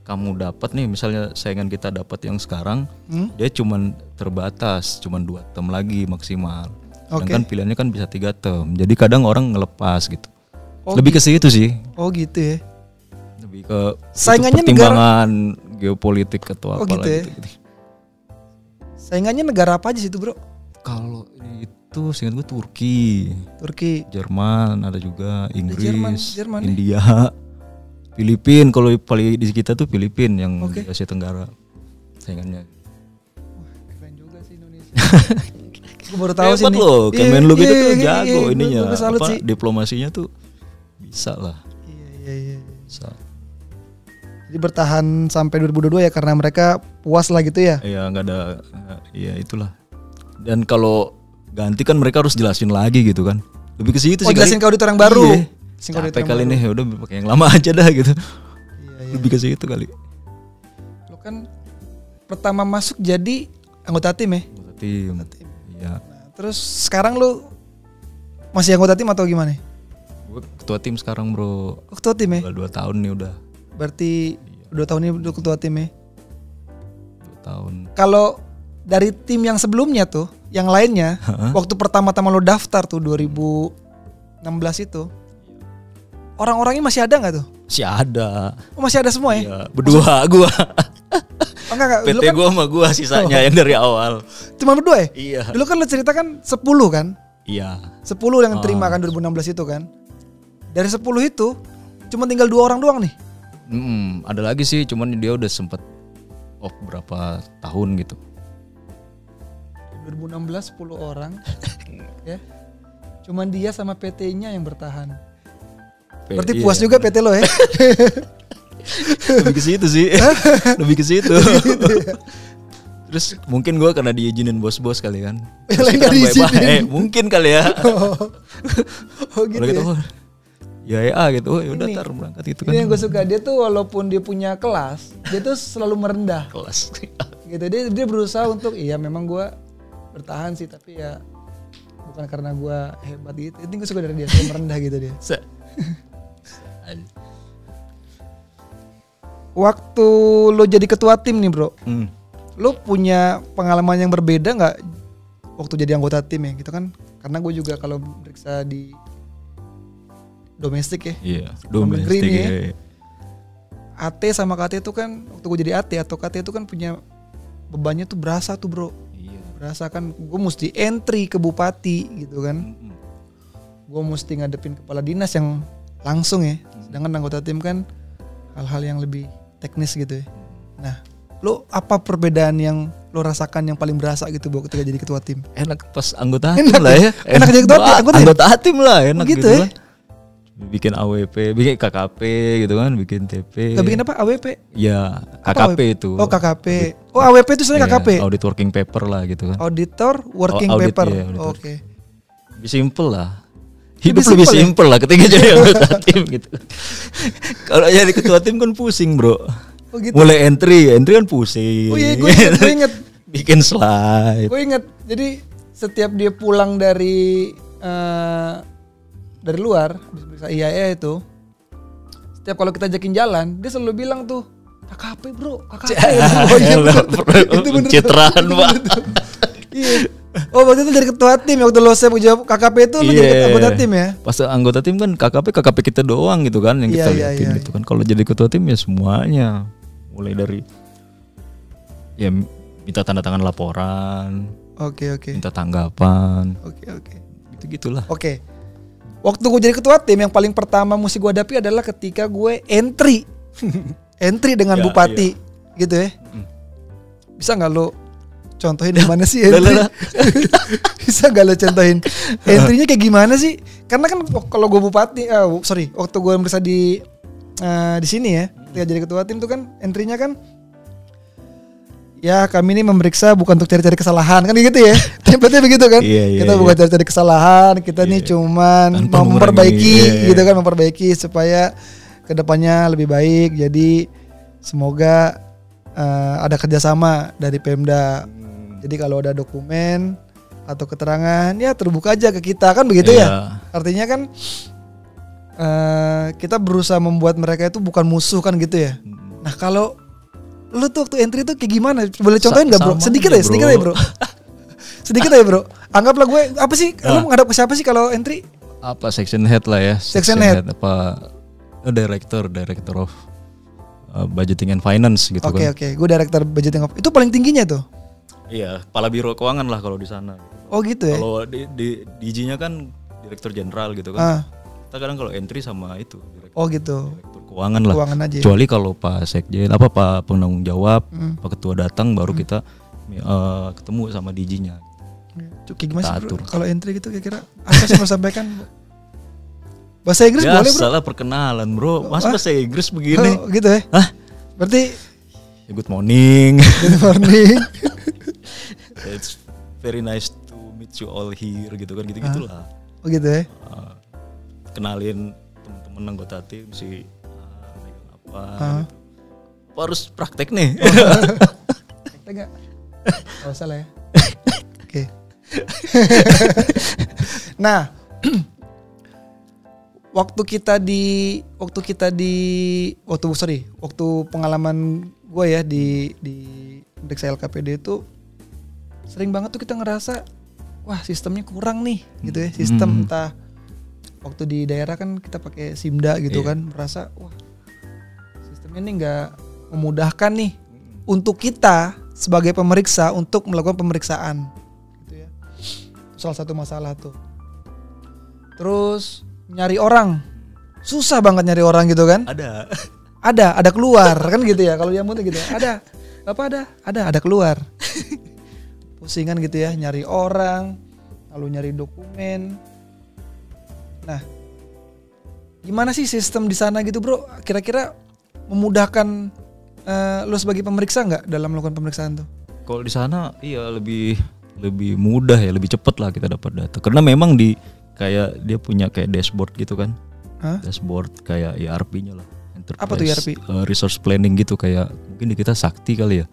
Speaker 3: kamu dapat nih misalnya saingan kita dapat yang sekarang
Speaker 2: Hmm?
Speaker 3: dia cuman terbatas cuman dua term lagi maksimal
Speaker 2: Oke.
Speaker 3: sedangkan pilihannya kan bisa tiga term jadi kadang orang ngelepas gitu
Speaker 2: Oh,
Speaker 3: lebih ke situ sih
Speaker 2: Oh gitu ya.
Speaker 3: lebih ke itu
Speaker 2: Saingannya negara-
Speaker 3: pertimbangan negara, geopolitik
Speaker 2: Oh,
Speaker 3: atau apa
Speaker 2: gitu ya?
Speaker 3: lagi
Speaker 2: Saingannya negara apa aja sih itu bro?
Speaker 3: Kalau itu seingat gue Turki,
Speaker 2: Turki.
Speaker 3: Jerman ada juga, Inggris,
Speaker 2: Jerman- Jerman nih.
Speaker 3: India, Filipin. Kalau paling di kita tuh Filipin yang di Asia Tenggara saingannya.
Speaker 2: Keren juga sih Indonesia. Gue baru tahu sih.
Speaker 3: Hebat
Speaker 2: nih.
Speaker 3: loh,
Speaker 2: Iya,
Speaker 3: Kemenlu gitu
Speaker 2: iya,
Speaker 3: tuh
Speaker 2: iya, iya,
Speaker 3: jago
Speaker 2: iya,
Speaker 3: ininya.
Speaker 2: Gue salut
Speaker 3: apa,
Speaker 2: sih.
Speaker 3: Diplomasinya tuh bisa lah,
Speaker 2: Iya, iya, iya.
Speaker 3: bisa.
Speaker 2: Jadi bertahan sampai 2022 ya karena mereka puas lah gitu ya.
Speaker 3: Ya nggak ada, ya itulah. Dan kalau ganti kan mereka harus jelasin lagi gitu kan. Lebih ke situ
Speaker 2: Oh
Speaker 3: sih.
Speaker 2: jelasin ke
Speaker 3: kali.
Speaker 2: auditor yang baru.
Speaker 3: Iya.
Speaker 2: Jelasin ke auditor
Speaker 3: Capek
Speaker 2: yang
Speaker 3: kali
Speaker 2: baru.
Speaker 3: nih, ya udah pakai yang lama aja dah gitu.
Speaker 2: Iya, iya.
Speaker 3: Lebih ke situ kali.
Speaker 2: Lo kan pertama masuk jadi anggota tim ya.
Speaker 3: Tim.
Speaker 2: tim.
Speaker 3: Iya.
Speaker 2: Nah, terus sekarang lo masih anggota tim atau gimana?
Speaker 3: Gue ketua tim sekarang bro.
Speaker 2: Lo ketua tim ya?
Speaker 3: Udah dua tahun nih udah.
Speaker 2: Berarti dua tahun ini lo ketua tim ya?
Speaker 3: Dua tahun.
Speaker 2: Kalau dari tim yang sebelumnya tuh, yang lainnya, waktu pertama-tama lo daftar tuh 2016 itu, orang-orangnya masih ada nggak tuh?
Speaker 3: Si ada.
Speaker 2: Oh, masih ada semua ya?
Speaker 3: Iya. Berdua gua.
Speaker 2: Oh, enggak, enggak. Dulu
Speaker 3: PT
Speaker 2: kan
Speaker 3: gua sama gua sisanya yang dari awal.
Speaker 2: cuma berdua ya?
Speaker 3: Iya.
Speaker 2: Dulu kan lo cerita kan 10 kan?
Speaker 3: Iya.
Speaker 2: 10 yang terima kan 2016 itu kan. Dari 10 itu cuma tinggal dua orang doang nih.
Speaker 3: Mm, ada lagi sih, cuman dia udah sempet off berapa tahun gitu.
Speaker 2: 2016 10 orang. ya. Cuman dia sama PT-nya yang bertahan.
Speaker 3: P-
Speaker 2: Berarti
Speaker 3: iya.
Speaker 2: puas juga PT lo ya?
Speaker 3: Lebih ke situ sih. Lebih ke situ.
Speaker 2: ya?
Speaker 3: Terus mungkin gua karena diizinin bos-bos kali kan.
Speaker 2: Yang
Speaker 3: Terus
Speaker 2: lain
Speaker 3: kita
Speaker 2: nggak
Speaker 3: kan bye-bye.
Speaker 2: diizinin.
Speaker 3: Eh, mungkin kali ya.
Speaker 2: oh, Oh, gitu
Speaker 3: Kalau gitu,
Speaker 2: ya.
Speaker 3: oh, ya ya ah, gitu. Oh, ya udah
Speaker 2: Ini-
Speaker 3: tar berangkat itu kan.
Speaker 2: Ini yang gue suka dia tuh walaupun dia punya kelas, dia tuh selalu merendah
Speaker 3: Kelas.
Speaker 2: gitu. Dia dia berusaha untuk iya memang gue bertahan sih tapi ya bukan karena gue hebat gitu. Itu gue suka dari dia selalu merendah gitu dia.
Speaker 3: Se-
Speaker 2: Waktu lo jadi ketua tim nih bro,
Speaker 3: Hmm.
Speaker 2: lo punya pengalaman yang berbeda nggak waktu jadi anggota tim ya gitu kan? Karena gue juga kalau periksa di domestik ya,
Speaker 3: Iya,
Speaker 2: Luar negeri
Speaker 3: domestik
Speaker 2: nih ya.
Speaker 3: ya.
Speaker 2: AT sama KT itu kan waktu gue jadi AT atau KT itu kan punya bebannya tuh berasa tuh bro.
Speaker 3: Iya.
Speaker 2: berasa kan gue mesti entry ke bupati gitu kan
Speaker 3: Mm-mm.
Speaker 2: gue mesti ngadepin kepala dinas yang langsung ya sedangkan anggota tim kan hal-hal yang lebih teknis gitu ya nah lo apa perbedaan yang lo rasakan yang paling berasa gitu bu ketika jadi ketua tim
Speaker 3: Enak pas anggota
Speaker 2: Enak
Speaker 3: hatim lah
Speaker 2: ya?
Speaker 3: ya.
Speaker 2: Enak jadi ketua hatim,
Speaker 3: Wah,
Speaker 2: anggota ya?
Speaker 3: Anggota hatim lah, enak
Speaker 2: Oh, gitu
Speaker 3: gitu,
Speaker 2: ya?
Speaker 3: lah. Bikin AWP, bikin KKP gitu kan, bikin TP.
Speaker 2: gak bikin apa AWP
Speaker 3: Ya,
Speaker 2: Apa
Speaker 3: KKP
Speaker 2: AWP?
Speaker 3: itu.
Speaker 2: oh KKP oh AWP itu sebenarnya
Speaker 3: Iya,
Speaker 2: KKP
Speaker 3: Audit working paper lah gitu
Speaker 2: Oh.
Speaker 3: kan.
Speaker 2: auditor working
Speaker 3: Audit,
Speaker 2: paper
Speaker 3: iya, auditor.
Speaker 2: oke
Speaker 3: Lebih simple lah. Hidup
Speaker 2: Lebih
Speaker 3: lebih
Speaker 2: simple ya?
Speaker 3: simple lah ketika jadi anggota tim gitu. Kalau jadi ketua tim kan pusing, Bro.
Speaker 2: oh gitu
Speaker 3: Mulai entry, entry kan pusing.
Speaker 2: oh iya gue inget, gue inget.
Speaker 3: bikin slide.
Speaker 2: Gue inget, jadi setiap dia pulang dari eh, dari luar, habis periksa IAE itu, setiap kalau kita ajakin jalan, dia selalu bilang tuh, KKP bro, KKP. Oh, iya,
Speaker 3: Elah,
Speaker 2: bener tuh.
Speaker 3: bro.
Speaker 2: Itu bener tuh.
Speaker 3: Citraan,
Speaker 2: Itu
Speaker 3: Pak.
Speaker 2: bener tuh. Iya. Oh waktu itu dari ketua tim ya, waktu lo saya jawab KKP itu lo jadi
Speaker 3: Iya.
Speaker 2: anggota tim ya?
Speaker 3: Pas anggota tim kan KKP KKP kita doang gitu kan yang kita
Speaker 2: Iya, iya,
Speaker 3: liatin
Speaker 2: iya.
Speaker 3: gitu kan. Kalau jadi ketua tim ya semuanya. Mulai dari ya minta tanda tangan laporan,
Speaker 2: Oke oke
Speaker 3: minta tanggapan,
Speaker 2: oke oke
Speaker 3: gitu gitulah.
Speaker 2: oke. Waktu gue jadi ketua tim yang paling pertama mesti gue hadapi adalah ketika gue entry, entry dengan
Speaker 3: Ya, Hmm.
Speaker 2: bupati, gitu ya. bisa nggak lo contohin gimana sih
Speaker 3: Lah,
Speaker 2: entry?
Speaker 3: lah, lah.
Speaker 2: bisa nggak lo contohin entrynya kayak gimana sih? Karena kan wak- kalau gue bupati, eh, w- sorry, waktu gue merasa di eh, di sini ya,
Speaker 3: Hmm.
Speaker 2: ketika jadi ketua tim tuh kan entrynya kan Ya kami ini memeriksa bukan untuk cari-cari kesalahan kan gitu ya Templatenya begitu kan
Speaker 3: Iya, iya,
Speaker 2: Kita
Speaker 3: iya.
Speaker 2: bukan cari-cari kesalahan Kita nih cuman
Speaker 3: Tanpa
Speaker 2: mau
Speaker 3: mengurangi,
Speaker 2: memperbaiki
Speaker 3: iya, iya.
Speaker 2: gitu kan Memperbaiki supaya kedepannya lebih baik Jadi semoga eh, ada kerjasama dari Pemda
Speaker 3: Hmm.
Speaker 2: Jadi kalau ada dokumen atau keterangan ya terbuka aja ke kita kan begitu ya
Speaker 3: Iya.
Speaker 2: Artinya kan eh, kita berusaha membuat mereka itu bukan musuh kan gitu ya.
Speaker 3: Hmm.
Speaker 2: Nah kalau lu tuh waktu entry tuh kayak gimana? Boleh
Speaker 3: Sa-
Speaker 2: contohin nggak bro?
Speaker 3: sama
Speaker 2: Sedikit
Speaker 3: aja,
Speaker 2: aja, sedikit aja bro. sedikit aja bro. Anggaplah gue apa sih?
Speaker 3: Ah.
Speaker 2: Lu menghadap ke siapa sih kalau entry?
Speaker 3: Apa eh, section head lah ya?
Speaker 2: Section head.
Speaker 3: apa oh, director, director of eh, budgeting and finance gitu
Speaker 2: Oke
Speaker 3: kan.
Speaker 2: oke, gue director budgeting of- Itu paling tingginya tuh.
Speaker 3: Iya, kepala biro keuangan lah kalau di sana. gitu.
Speaker 2: Oh gitu ya.
Speaker 3: Kalau di di DG-nya kan direktur jenderal gitu kan.
Speaker 2: Ah,
Speaker 3: Kita kadang kalau entry sama itu direktur,
Speaker 2: oh gitu.
Speaker 3: direktur keuangan lah.
Speaker 2: Keuangan aja. ya?
Speaker 3: Kecuali kalau Pak Sekjen apa Pak penanggung jawab,
Speaker 2: Hmm.
Speaker 3: Pak ketua datang baru kita eh, ketemu sama DG-nya.
Speaker 2: Cuk, kayak gimana sih bro?
Speaker 3: Tatur.
Speaker 2: Kalau entry gitu kira-kira apa sih mau sampaikan? Bahasa Inggris
Speaker 3: Ya
Speaker 2: boleh bro? ah.
Speaker 3: salah perkenalan, Bro. Mas bahasa Inggris begini.
Speaker 2: Oh, gitu ya.
Speaker 3: Hah?
Speaker 2: Berarti
Speaker 3: Ya, Good morning.
Speaker 2: good morning.
Speaker 3: It's very nice to meet you all here gitu kan gitu-gitulah.
Speaker 2: oh gitu ya.
Speaker 3: Uh, kenalin teman-teman anggota tim si eh, A megang apa gitu. Gua harus praktek nih Oh,
Speaker 2: Tega. Gak usah lah ya. Oke. nah, waktu kita di waktu kita di waktu sorry waktu pengalaman gue ya di di periksa LKPD itu sering banget tuh kita ngerasa wah sistemnya kurang nih gitu ya sistem entah waktu di daerah kan kita pakai simda gitu
Speaker 3: Iya.
Speaker 2: kan merasa wah sistemnya nih nggak memudahkan nih untuk kita sebagai pemeriksa untuk melakukan pemeriksaan gitu ya salah satu masalah tuh terus nyari orang susah banget nyari orang gitu kan
Speaker 3: ada
Speaker 2: ada ada keluar kan gitu ya kalau yang muntah gitu ya. ada apa ada ada ada keluar pusingan gitu ya nyari orang lalu nyari dokumen nah gimana sih sistem di sana gitu bro kira-kira memudahkan eh, lo sebagai pemeriksa nggak dalam melakukan pemeriksaan tuh
Speaker 3: kalau di sana iya lebih lebih mudah ya lebih cepet lah kita dapat data karena memang di kayak dia punya kayak dashboard gitu kan
Speaker 2: Hah?
Speaker 3: dashboard kayak ERP-nya lah Enterprise
Speaker 2: Apa tuh E ERP?
Speaker 3: uh, Resource Planning gitu kayak mungkin di kita Sakti kali ya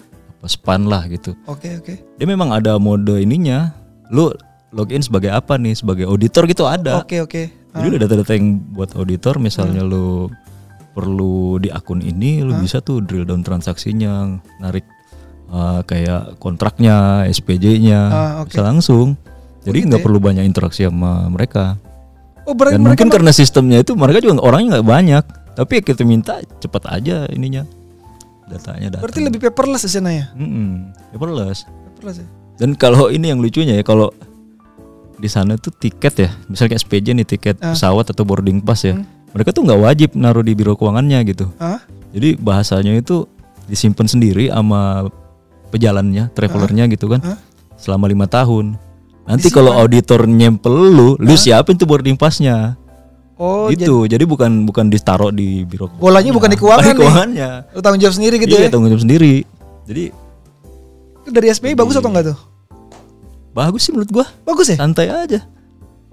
Speaker 3: apa span lah gitu
Speaker 2: oke oke
Speaker 3: dia memang ada mode ininya lu login sebagai apa nih sebagai auditor gitu ada
Speaker 2: oke oke
Speaker 3: Jadi udah data-data yang buat auditor misalnya
Speaker 2: Hmm.
Speaker 3: lu perlu di akun ini
Speaker 2: Ah.
Speaker 3: lu bisa tuh drill down transaksinya, narik uh, kayak kontraknya, SPJ-nya,
Speaker 2: Ah, oke.
Speaker 3: bisa langsung. Jadi nggak perlu banyak interaksi sama mereka.
Speaker 2: oh berarti
Speaker 3: Dan
Speaker 2: mereka
Speaker 3: mungkin karena sistemnya itu mereka juga orangnya nggak banyak. Tapi ya kita minta cepat aja ininya datanya datang.
Speaker 2: berarti lebih paperless di sana ya
Speaker 3: Mm-mm, paperless.
Speaker 2: paperless ya
Speaker 3: Dan kalau ini yang lucunya ya kalau di sana tuh tiket ya, misalnya kayak SPJ nih tiket
Speaker 2: Ah.
Speaker 3: pesawat atau boarding
Speaker 2: Hmm.
Speaker 3: pass ya, mereka tuh nggak wajib naruh di biro keuangannya gitu.
Speaker 2: Hah?
Speaker 3: Jadi bahasanya itu disimpan sendiri sama pejalannya, travelernya
Speaker 2: Ah.
Speaker 3: gitu kan,
Speaker 2: Hah?
Speaker 3: selama lima tahun. Nanti kalau auditor nyempel lu, lu siapin tuh boarding passnya.
Speaker 2: Ah. oh
Speaker 3: gitu. Jadi bukan bukan ditaruh di biro keuangan.
Speaker 2: bolanya bukan di keuangan nih
Speaker 3: keuangannya.
Speaker 2: lo tanggung jawab sendiri gitu
Speaker 3: ya. Iya,
Speaker 2: ya
Speaker 3: tanggung jawab sendiri. Jadi
Speaker 2: Itu dari SPI
Speaker 3: Iya.
Speaker 2: bagus atau enggak tuh?
Speaker 3: bagus sih menurut gua.
Speaker 2: Bagus ya?
Speaker 3: Santai aja.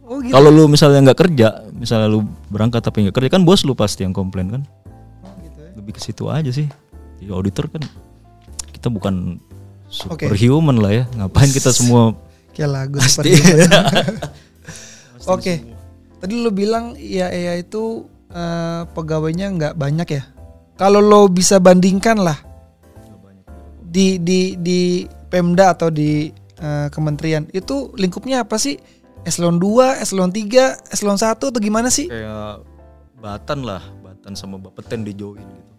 Speaker 2: Oh gitu.
Speaker 3: Kalau lu misalnya nggak kerja, misalnya lu berangkat tapi nggak kerja kan bos lu pasti yang komplain kan.
Speaker 2: Oh, gitu ya.
Speaker 3: Lebih ke situ aja sih. Jadi auditor kan kita bukan
Speaker 2: Oke.
Speaker 3: superhuman lah ya. Ngapain kita semua
Speaker 2: Kayak lagu seperti itu. Oke. Tadi lu bilang ya ya itu eh, pegawainya nggak banyak ya. Kalau lo bisa bandingkan lah di di di Pemda atau di eh, kementerian itu lingkupnya apa sih? Eselon 2, eselon 3, eselon 1 atau gimana sih?
Speaker 3: kayak Batan lah, Batan sama Bapeten dijoin gitu.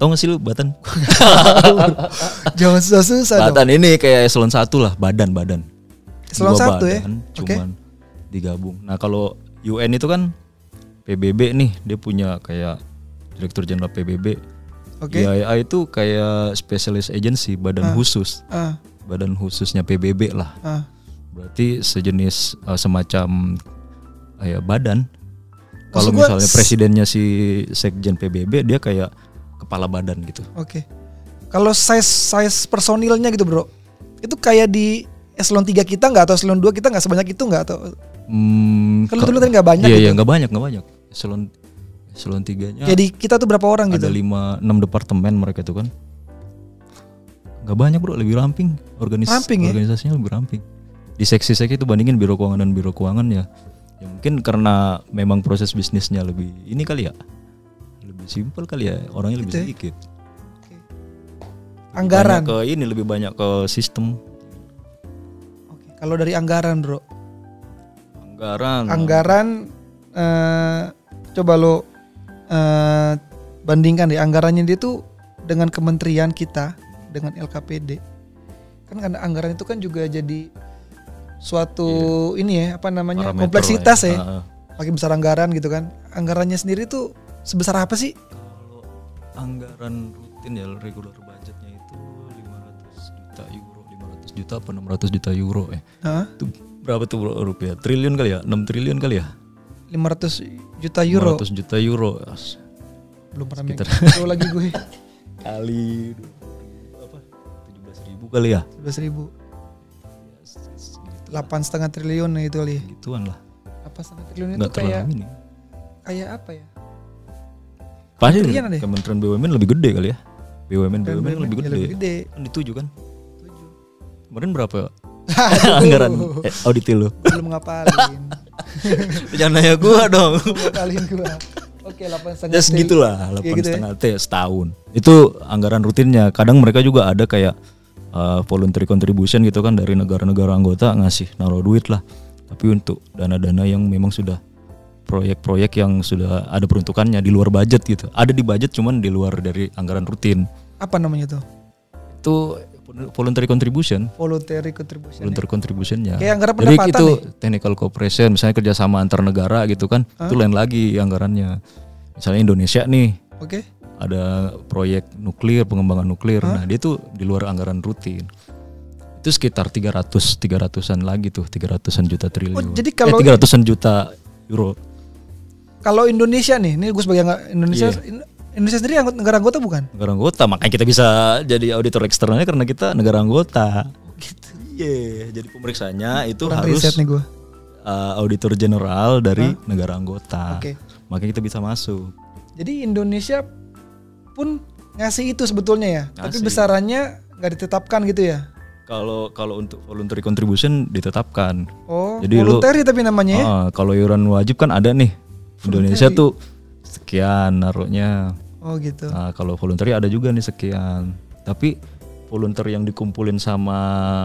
Speaker 3: Tau gak sih lu Batan?
Speaker 2: Jangan susah-susah dong.
Speaker 3: Batan ini kayak eselon satu lah, badan-badan.
Speaker 2: Eselon
Speaker 3: Dua
Speaker 2: satu ya?
Speaker 3: badan,
Speaker 2: Oke.
Speaker 3: Cuman digabung. Nah kalau UN itu kan PBB nih, dia punya kayak Direktur Jenderal PBB.
Speaker 2: Oke.
Speaker 3: IAEA itu kayak Specialist Agency, badan khusus,
Speaker 2: Ah,
Speaker 3: badan khususnya PBB lah.
Speaker 2: ah.
Speaker 3: Berarti sejenis eh, semacam eh, ya, badan.
Speaker 2: Maksud
Speaker 3: Kalau
Speaker 2: gua
Speaker 3: misalnya
Speaker 2: s-
Speaker 3: presidennya si Sekjen PBB, dia kayak kepala badan gitu.
Speaker 2: Oke. Kalau size size personilnya gitu, Bro. Itu kayak di eselon 3 kita nggak atau eselon 2 kita nggak sebanyak itu nggak atau
Speaker 3: Hmm,
Speaker 2: Kan lu
Speaker 3: ka-
Speaker 2: dulu tadi nggak banyak
Speaker 3: Iya
Speaker 2: gitu.
Speaker 3: iya nggak banyak nggak banyak. Eselon eselon tiganya
Speaker 2: jadi kita tuh berapa orang gitu?
Speaker 3: ada lima enam departemen mereka itu kan. Nggak banyak bro, lebih ramping. Organis
Speaker 2: Ramping ya?
Speaker 3: organisasinya lebih ramping. Di seksi-seksi itu bandingin biro keuangan dan biro keuangan ya. Ya mungkin karena memang proses bisnisnya lebih ini kali ya. Lebih simpel kali ya, orangnya lebih sedikit.
Speaker 2: Gitu Anggaran.
Speaker 3: Banyak ke ini lebih banyak ke sistem
Speaker 2: Oke. Kalau dari anggaran, Bro.
Speaker 3: anggaran.
Speaker 2: Anggaran eh coba lo eh bandingkan deh anggarannya dia tuh dengan kementerian kita dengan LKPD kan karena anggaran itu kan juga jadi suatu ini ya apa namanya
Speaker 3: Iya. Parameter
Speaker 2: kompleksitas
Speaker 3: lah
Speaker 2: ya,
Speaker 3: ya. Ah, ah.
Speaker 2: makin besar anggaran gitu kan anggarannya sendiri tuh sebesar apa sih
Speaker 3: Kalau anggaran rutin ya regular budgetnya itu 500 juta euro, 500 juta apa 600 juta euro ya.
Speaker 2: Hah?
Speaker 3: Itu berapa tuh bro, rupiah? Triliun kali ya? 6 triliun kali ya?
Speaker 2: 500 juta euro
Speaker 3: 500 juta euro. As-
Speaker 2: belum pernah
Speaker 3: sekitar.
Speaker 2: megang. Euro lagi gue
Speaker 3: Kali dua- apa? 17 ribu kali ya?
Speaker 2: 11 ribu
Speaker 3: Ya, se- segitu.
Speaker 2: delapan setengah triliun itu kali
Speaker 3: Gituan lah.
Speaker 2: apa setengah triliun itu
Speaker 3: Nggak
Speaker 2: kayak
Speaker 3: terlalu ini.
Speaker 2: kayak apa ya
Speaker 3: Pasti
Speaker 2: Kementerian deh.
Speaker 3: Kementerian BUMN lebih gede kali ya. BUMN
Speaker 2: Keren
Speaker 3: BUMN
Speaker 2: banget.
Speaker 3: lebih
Speaker 2: Ya,
Speaker 3: gede.
Speaker 2: lebih gede.
Speaker 3: Kan dituju kan?
Speaker 2: Tujuh.
Speaker 3: Kemarin berapa ya?
Speaker 2: Aduh,
Speaker 3: anggaran eh, audit lu?
Speaker 2: belum ngapalin
Speaker 3: Jangan nanya gua dong.
Speaker 2: belum ngapalin gua oke delapan setengah
Speaker 3: Ya segitulah,
Speaker 2: Iya,
Speaker 3: delapan
Speaker 2: gitu ya.
Speaker 3: setengah t setahun. Itu anggaran rutinnya. Kadang mereka juga ada kayak eh, voluntary contribution gitu kan dari negara-negara anggota ngasih naruh duit lah. Tapi untuk dana-dana yang memang sudah proyek-proyek yang sudah ada peruntukannya di luar budget gitu. Ada di budget cuman di luar dari anggaran rutin.
Speaker 2: apa namanya tuh
Speaker 3: Itu voluntary contribution
Speaker 2: voluntary contribution
Speaker 3: belum terkontribusinya.
Speaker 2: Kayak anggaran
Speaker 3: Jadi
Speaker 2: pendapatan
Speaker 3: itu technical cooperation, misalnya kerjasama antar negara gitu kan, itu lain lagi anggarannya. Misalnya Indonesia nih
Speaker 2: oke
Speaker 3: ada proyek nuklir, pengembangan nuklir. Nah, dia tuh di luar anggaran rutin. Itu sekitar 300 300-an lagi tuh, 300-an juta triliun.
Speaker 2: Oh, jadi kalau-
Speaker 3: eh, 300-an juta euro.
Speaker 2: kalau Indonesia nih ini gue sebagai angga- Indonesia
Speaker 3: Iya.
Speaker 2: In- Indonesia sendiri anggot- negara anggota bukan
Speaker 3: Negara anggota, makanya kita bisa jadi auditor eksternalnya karena kita negara anggota. Gitu. Iya, jadi pemeriksaannya itu
Speaker 2: kurang
Speaker 3: harus
Speaker 2: riset nih gue
Speaker 3: uh, auditor general dari negara anggota.
Speaker 2: Oke.
Speaker 3: Makanya kita bisa masuk.
Speaker 2: jadi Indonesia pun ngasih itu sebetulnya ya tapi
Speaker 3: Ngasih.
Speaker 2: besarannya nggak ditetapkan gitu ya
Speaker 3: Kalau kalau untuk voluntary contribution ditetapkan.
Speaker 2: oh
Speaker 3: Jadi lu-
Speaker 2: voluntary tapi namanya ya
Speaker 3: Ah, kalau iuran wajib kan ada nih. Indonesia tuh sekian naruhnya.
Speaker 2: oh gitu
Speaker 3: Nah, kalau voluntary ada juga nih sekian. Tapi volunteer yang dikumpulin sama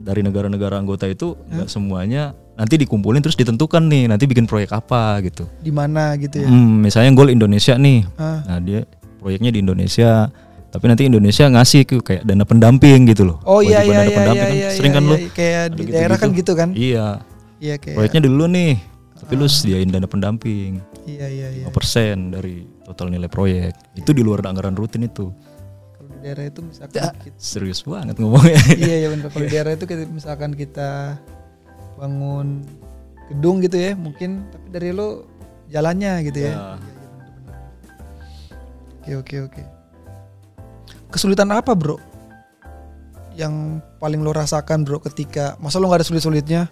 Speaker 3: dari negara-negara anggota itu
Speaker 2: Iya.
Speaker 3: nggak semuanya nanti dikumpulin terus ditentukan nih nanti bikin proyek apa gitu.
Speaker 2: di mana gitu ya
Speaker 3: Hmm, misalnya goal Indonesia nih.
Speaker 2: Ah.
Speaker 3: Nah, dia proyeknya di Indonesia. Tapi nanti Indonesia ngasih ke kayak dana pendamping gitu loh.
Speaker 2: Oh iya iya
Speaker 3: Kewajiban dana
Speaker 2: iya iya
Speaker 3: pendamping kan.
Speaker 2: iya,
Speaker 3: Sering kan
Speaker 2: iya,
Speaker 3: lo
Speaker 2: iya. kayak di daerah kan gitu kan?
Speaker 3: Iya.
Speaker 2: Iya kayak
Speaker 3: Proyeknya dulu nih. Tapi lu sediain dana pendamping
Speaker 2: iya iya iya.
Speaker 3: 5% dari total nilai proyek. Itu di luar anggaran rutin itu.
Speaker 2: Kalau di daerah itu misalkan gitu. kita-
Speaker 3: Serius banget ngomongnya.
Speaker 2: iya iya benar. Kalau di daerah itu kayak misalkan kita bangun gedung gitu ya, mungkin tapi dari lo jalannya gitu ya.
Speaker 3: Ya.
Speaker 2: Oke oke oke. Kesulitan apa, Bro? Yang paling lo rasakan, Bro, ketika masa lo nggak ada sulit-sulitnya?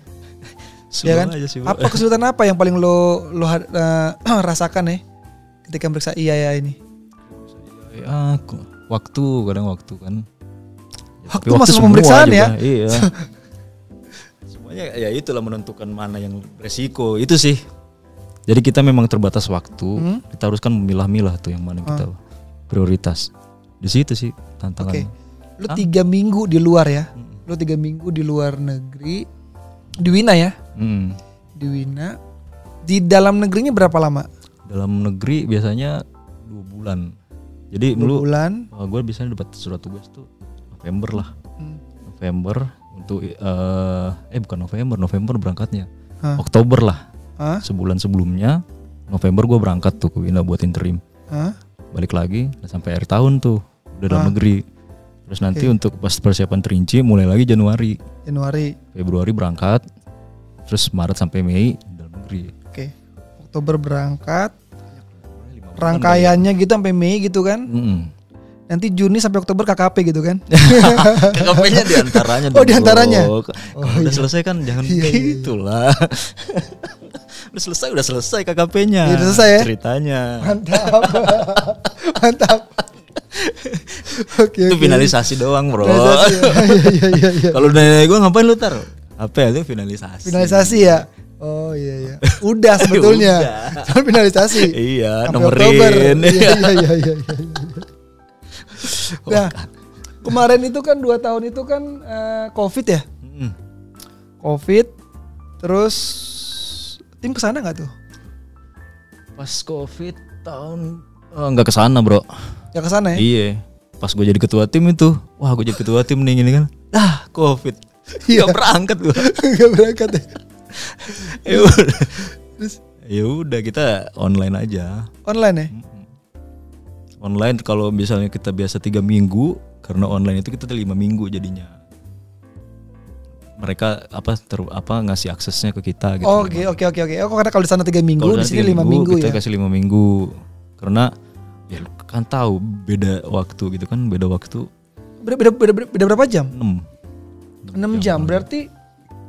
Speaker 3: Semua
Speaker 2: kan?
Speaker 3: aja sih, Bro.
Speaker 2: Apa kesulitan apa yang paling lo lo had- eh, rasakan ya ketika meriksa iya ya ini?
Speaker 3: Ya, ku- waktu kadang waktu kan. Ya,
Speaker 2: Waktu
Speaker 3: tapi
Speaker 2: masuk
Speaker 3: semua
Speaker 2: pemeriksaan ya?
Speaker 3: Iya. Semuanya ya itulah menentukan mana yang resiko itu sih. Jadi kita memang terbatas waktu.
Speaker 2: Hmm?
Speaker 3: Kita harus kan memilah-milah tuh yang mana yang kita prioritas. Di situ sih
Speaker 2: Ah.
Speaker 3: tantangan.
Speaker 2: Oke. Lu tiga minggu di luar ya. Lu tiga minggu di luar negeri di Wina ya,
Speaker 3: Mm.
Speaker 2: di Wina. Di dalam negerinya berapa lama?
Speaker 3: Dalam negeri biasanya dua bulan. Jadi
Speaker 2: Dua
Speaker 3: dulu
Speaker 2: bulan.
Speaker 3: gue biasanya dapat surat tugas tuh November lah.
Speaker 2: Hmm.
Speaker 3: November untuk eh, eh bukan November, November berangkatnya.
Speaker 2: Hah?
Speaker 3: Oktober lah.
Speaker 2: Hah?
Speaker 3: Sebulan sebelumnya November gue berangkat tuh ke Wina buat interim.
Speaker 2: Hah?
Speaker 3: Balik lagi nah sampai akhir tahun tuh udah dalam negeri. Terus nanti untuk pas persiapan terinci mulai lagi Januari,
Speaker 2: Januari.
Speaker 3: Februari berangkat. Terus Maret sampai Mei dalam negeri.
Speaker 2: Oke. Oktober berangkat. Rangkaiannya gitu sampai Mei gitu kan.
Speaker 3: Mm-mm.
Speaker 2: Nanti Juni sampai Oktober KKP gitu kan.
Speaker 3: KKP-nya diantaranya
Speaker 2: Oh, iya. diantaranya?
Speaker 3: Bro. Kalau udah selesai kan jangan
Speaker 2: iya.
Speaker 3: gitu lah Udah selesai, udah selesai KKP-nya
Speaker 2: Iya, udah selesai ya?
Speaker 3: Ceritanya
Speaker 2: Mantap. Mantap. Oke.
Speaker 3: Itu
Speaker 2: oke.
Speaker 3: finalisasi doang bro
Speaker 2: Finalisasi ya. Iya, iya, iya, iya.
Speaker 3: Kalau udah nanya gue ngapain lu taruh? Apa ya, itu finalisasi
Speaker 2: Finalisasi ya. Oh iya iya. Udah sebetulnya.
Speaker 3: Udah.
Speaker 2: Cuman finalisasi.
Speaker 3: Iya,
Speaker 2: Sampai
Speaker 3: nomerin.
Speaker 2: Oktober. Iya iya iya iya. iya. Nah, kemarin itu kan dua tahun itu kan eh, Covid ya.
Speaker 3: Mm-mm.
Speaker 2: Covid terus tim kesana nggak tuh?
Speaker 3: Pas covid tahun Eh, nggak kesana bro
Speaker 2: Ya kesana ya.
Speaker 3: Iya pas gue jadi ketua tim itu wah gue jadi ketua tim nih gini kan ah covid
Speaker 2: Iya.
Speaker 3: Gak berangkat gue
Speaker 2: Gak berangkat ya.
Speaker 3: ya udah ya udah kita online aja
Speaker 2: Online
Speaker 3: Hmm,
Speaker 2: ya?
Speaker 3: online kalau misalnya kita biasa tiga minggu karena online itu kita lima minggu jadinya mereka apa ter, apa ngasih aksesnya ke kita gitu
Speaker 2: Oke oke oke oke. Oh karena kalau di sana tiga minggu,
Speaker 3: Kalau
Speaker 2: di
Speaker 3: sana
Speaker 2: sini
Speaker 3: tiga
Speaker 2: lima minggu,
Speaker 3: kita
Speaker 2: ya.
Speaker 3: kasih lima minggu karena ya lu kan tahu beda waktu gitu kan beda waktu
Speaker 2: Beda, beda, beda, beda berapa jam?
Speaker 3: 6
Speaker 2: 6 jam. Berarti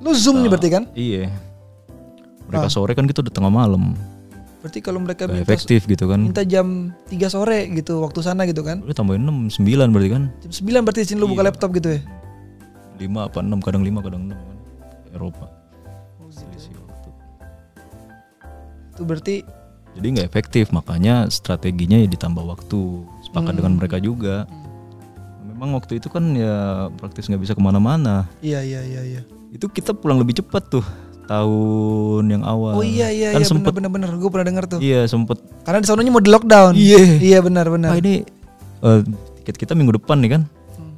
Speaker 2: lu zoom nih berarti kan? Ah.
Speaker 3: iya mereka sore kan kita udah tengah malam
Speaker 2: Berarti kalau mereka
Speaker 3: Gak
Speaker 2: minta,
Speaker 3: efektif gitu kan
Speaker 2: minta jam 3 sore gitu waktu sana gitu kan.
Speaker 3: lu tambahin 6 9 berarti kan
Speaker 2: Jam 9 berarti di sini lu
Speaker 3: Iya.
Speaker 2: buka laptop gitu ya.
Speaker 3: 5 apa 6 kadang 5 kadang 6 kan Eropa
Speaker 2: Oh, gitu.
Speaker 3: Selisih waktu.
Speaker 2: Itu berarti
Speaker 3: jadi nggak efektif makanya strateginya ya ditambah waktu sepakat
Speaker 2: Hmm.
Speaker 3: dengan mereka juga memang waktu itu kan ya praktis nggak bisa kemana-mana
Speaker 2: iya iya iya iya.
Speaker 3: itu kita pulang lebih cepat tuh tahun yang
Speaker 2: Oh
Speaker 3: awal
Speaker 2: iya iya
Speaker 3: kan
Speaker 2: iya
Speaker 3: sempet
Speaker 2: benar benar benar gue pernah dengar tuh.
Speaker 3: iya sempet
Speaker 2: Karena di sononya mau di lockdown.
Speaker 3: Iya.
Speaker 2: Iya benar benar.
Speaker 3: Pak ini eh, tiket kita minggu depan nih kan.
Speaker 2: Hmm.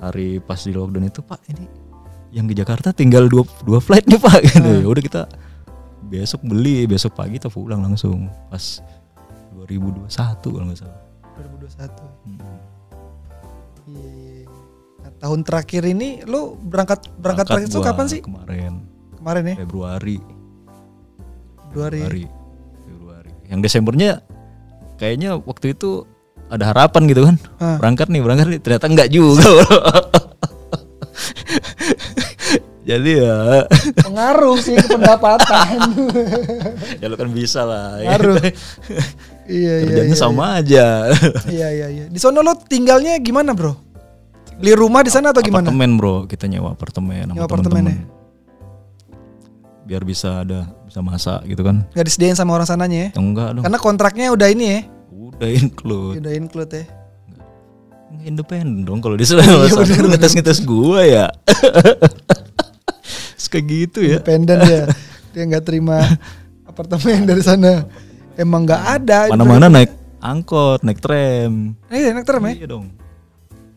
Speaker 3: Hari pas di lockdown itu Pak ini yang ke Jakarta tinggal dua dua flight nih Pak. Gitu.
Speaker 2: Hmm.
Speaker 3: Ya udah kita besok beli, besok pagi kita pulang langsung pas 2021 kalau nggak salah.
Speaker 2: 2021.
Speaker 3: Mm.
Speaker 2: Iya iya. iya. Nah, tahun terakhir ini lu berangkat berangkat terakhir itu
Speaker 3: gua Iya.
Speaker 2: kapan sih?
Speaker 3: Kemarin
Speaker 2: Kemarin ya.
Speaker 3: Februari.
Speaker 2: Dua hari.
Speaker 3: Februari. Februari. Yang Desembernya kayaknya waktu itu ada harapan gitu kan.
Speaker 2: Hah.
Speaker 3: Berangkat nih, berangkat nih. Ternyata enggak juga. Jadi ya,
Speaker 2: Pengaruh sih ke pendapatan.
Speaker 3: ya lu kan bisa lah.
Speaker 2: Pengaruh. iya iya.
Speaker 3: Kerjanya sama aja.
Speaker 2: Iya iya iya. Di sono lo tinggalnya gimana, Bro? Beli rumah di sana atau gimana?
Speaker 3: apartemen bro, kita nyewa apartemen sama
Speaker 2: Nyewa apartemen ya?
Speaker 3: temen-temen. Biar bisa ada, bisa masak gitu kan.
Speaker 2: Gak disediain sama orang sananya ya?
Speaker 3: Ya enggak dong,
Speaker 2: Karena kontraknya udah ini ya.
Speaker 3: udah include.
Speaker 2: Udah include ya.
Speaker 3: Nggak Independen dong kalau disuruh
Speaker 2: Iya,
Speaker 3: sama lu ngetes-ngetes gua ya. Terus Kayak gitu ya.
Speaker 2: Independen ya. Dia nggak terima apartemen dari sana. Emang nggak ada.
Speaker 3: Mana-mana naik angkot, naik tram.
Speaker 2: Iya, enak term ya.
Speaker 3: Iya dong.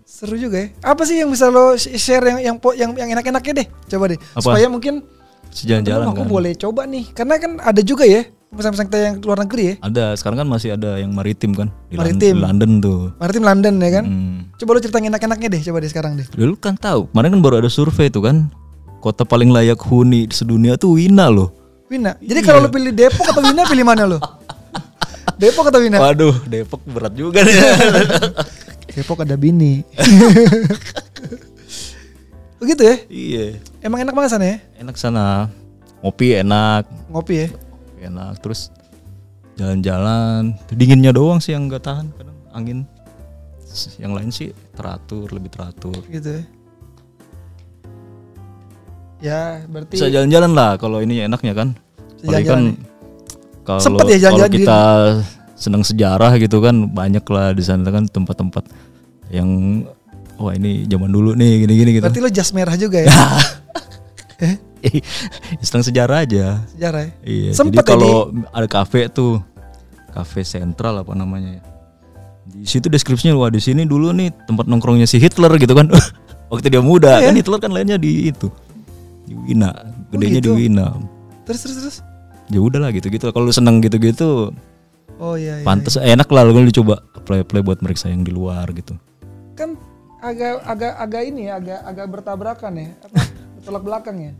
Speaker 2: Seru juga ya. Apa sih yang bisa lo sh- share yang yang po- yang, yang enak-enaknya deh? Coba deh.
Speaker 3: Apa?
Speaker 2: Supaya mungkin
Speaker 3: Sejalan-jalan
Speaker 2: aku
Speaker 3: kan.
Speaker 2: boleh coba nih. Karena kan ada juga ya pesan-pesan kita yang luar negeri ya.
Speaker 3: Ada, sekarang kan masih ada yang maritim kan di Lon-
Speaker 2: Maritim.
Speaker 3: di London tuh.
Speaker 2: Maritim London ya kan.
Speaker 3: Hmm.
Speaker 2: Coba lo ceritain enak-enaknya deh. Coba deh sekarang deh.
Speaker 3: Dulu kan tahu, kemarin kan baru ada survei tuh kan. Kota paling layak huni di sedunia tuh Wina loh.
Speaker 2: Wina. Jadi
Speaker 3: Iya.
Speaker 2: kalau lo pilih Depok atau Wina pilih mana lo? Depok atau Wina?
Speaker 3: Waduh, Depok berat juga nih.
Speaker 2: Depok ada bini. Begitu ya?
Speaker 3: iya.
Speaker 2: Emang enak banget sana ya?
Speaker 3: Enak sana. Ngopi enak,
Speaker 2: Ngopi ya?
Speaker 3: enak terus jalan-jalan dinginnya doang sih yang nggak tahan kadang angin Terus yang lain sih teratur lebih teratur
Speaker 2: Gitu ya? Ya berarti
Speaker 3: bisa jalan-jalan lah kalau ini enaknya kan apalagi kan
Speaker 2: jalan-jalan
Speaker 3: kalau
Speaker 2: Sempet ya
Speaker 3: kalau
Speaker 2: jalan-jalan di-
Speaker 3: kita senang sejarah gitu kan banyak lah di sana kan tempat-tempat yang wah ini zaman dulu nih gini-gini gitu
Speaker 2: berarti lo jas merah juga ya? eh,
Speaker 3: senang sejarah aja
Speaker 2: sejarah ya?
Speaker 3: Iya.
Speaker 2: Sempet
Speaker 3: jadi kalau ada kafe tuh, kafe sentral apa namanya ya. Di situ deskripsinya wah di sini dulu nih tempat nongkrongnya si Hitler gitu kan. Waktu dia muda
Speaker 2: Iya.
Speaker 3: kan Hitler kan lainnya di itu. Di Wina,
Speaker 2: Oh,
Speaker 3: gedenya
Speaker 2: gitu.
Speaker 3: di Wina.
Speaker 2: Terus terus terus?
Speaker 3: Ya udahlah gitu-gitu. Kalau lu seneng gitu-gitu,
Speaker 2: Oh iya iya.
Speaker 3: pantas enak lah lu coba play-play buat mereka yang di luar gitu.
Speaker 2: Kan agak agak agak ini ya, agak agak bertabrakan ya, apa bertolak belakang ya.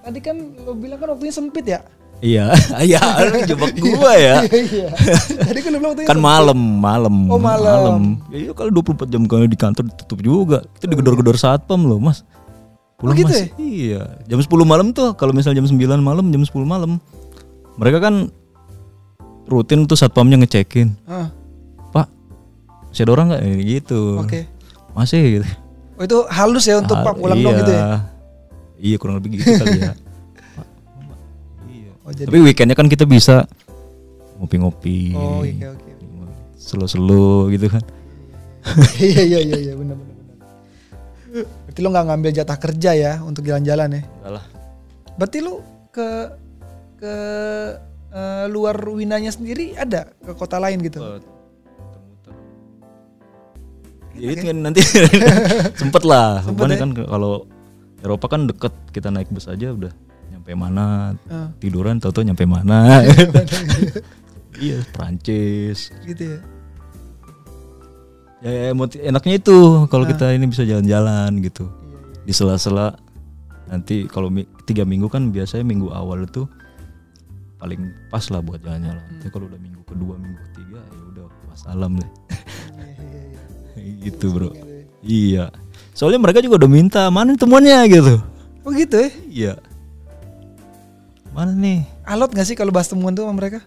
Speaker 2: Tadi kan lo bilang kan waktunya sempit ya?
Speaker 3: Iya, iya, lu jebak gua ya.
Speaker 2: Iya. Tadi kan lo bilang waktunya
Speaker 3: Kan malam, malam.
Speaker 2: Oh, malam.
Speaker 3: Ya, Iya, kalau 24 jam kalau di kantor ditutup juga. Kita digedor-gedor satpam loh, Mas. Pulang
Speaker 2: Hmm. gitu
Speaker 3: Mas. Iya. Jam 10 malam tuh kalau misal jam 9 malam, jam 10 malam. Mereka kan rutin tuh satpamnya ngecekin.
Speaker 2: Ah,
Speaker 3: Pak, masih ada orang nggak Ini gitu.
Speaker 2: Oke.
Speaker 3: Masih gitu.
Speaker 2: Oh itu halus ya untuk
Speaker 3: Ah,
Speaker 2: pak pulang dong
Speaker 3: iya.
Speaker 2: gitu ya?
Speaker 3: Iya, kurang lebih gitu kali ya.
Speaker 2: Oh jadi.
Speaker 3: Tapi weekendnya kan kita bisa ngopi-ngopi.
Speaker 2: Oh iya oke. oke.
Speaker 3: Selo-selo gitu kan.
Speaker 2: Iya iya iya iya benar benar benar. Berarti lo nggak ngambil jatah kerja ya untuk jalan-jalan ya?
Speaker 3: Enggak lah.
Speaker 2: Berarti lo ke ke eh, luar Winanya sendiri ada ke kota lain gitu?
Speaker 3: muter-muter. Ya itu kan nanti sempet lah. Bukan kan kalau Eropa kan deket kita naik bus aja udah nyampe mana
Speaker 2: Ah.
Speaker 3: tiduran tau-tau nyampe mana. iya Prancis.
Speaker 2: gitu ya
Speaker 3: Ya, ya, emoti- enaknya itu kalau kita ini bisa jalan-jalan gitu di sela-sela nanti kalau mi- tiga minggu kan biasanya minggu awal itu paling pas lah buat jalan-jalan. Tapi kalau udah minggu kedua minggu ketiga ya udah wassalam deh gitu bro. Iya. Soalnya mereka juga udah minta mana temuannya gitu.
Speaker 2: oh gitu ya
Speaker 3: Iya. Mana nih?
Speaker 2: alot gak sih kalau bahas temuan tuh sama mereka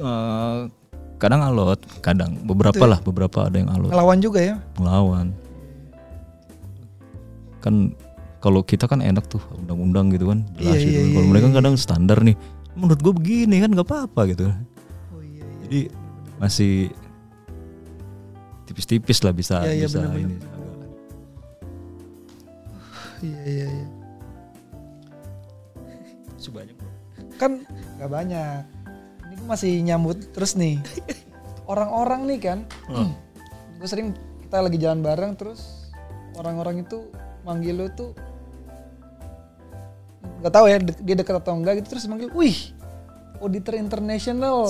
Speaker 3: Eh, kadang alot, kadang beberapa lah, beberapa ada yang alot
Speaker 2: ngelawan juga ya
Speaker 3: melawan. Kan kalau kita kan enak tuh undang-undang gitu kan jelas
Speaker 2: Iya,
Speaker 3: gitu.
Speaker 2: iya,
Speaker 3: kalau
Speaker 2: iya,
Speaker 3: mereka
Speaker 2: iya.
Speaker 3: kadang standar nih. Menurut gue begini kan nggak apa-apa gitu.
Speaker 2: oh iya iya
Speaker 3: Jadi masih tipis-tipis lah bisa
Speaker 2: Iya, iya,
Speaker 3: bisa
Speaker 2: bener-bener.
Speaker 3: ini.
Speaker 2: iya iya, iya.
Speaker 3: Sebanyak
Speaker 2: kan gak banyak ini gue masih nyambut terus nih orang-orang nih kan gue sering kita lagi jalan bareng terus orang-orang itu manggil lu tuh nggak tahu ya de- dia dekat atau enggak gitu terus manggil wih auditor international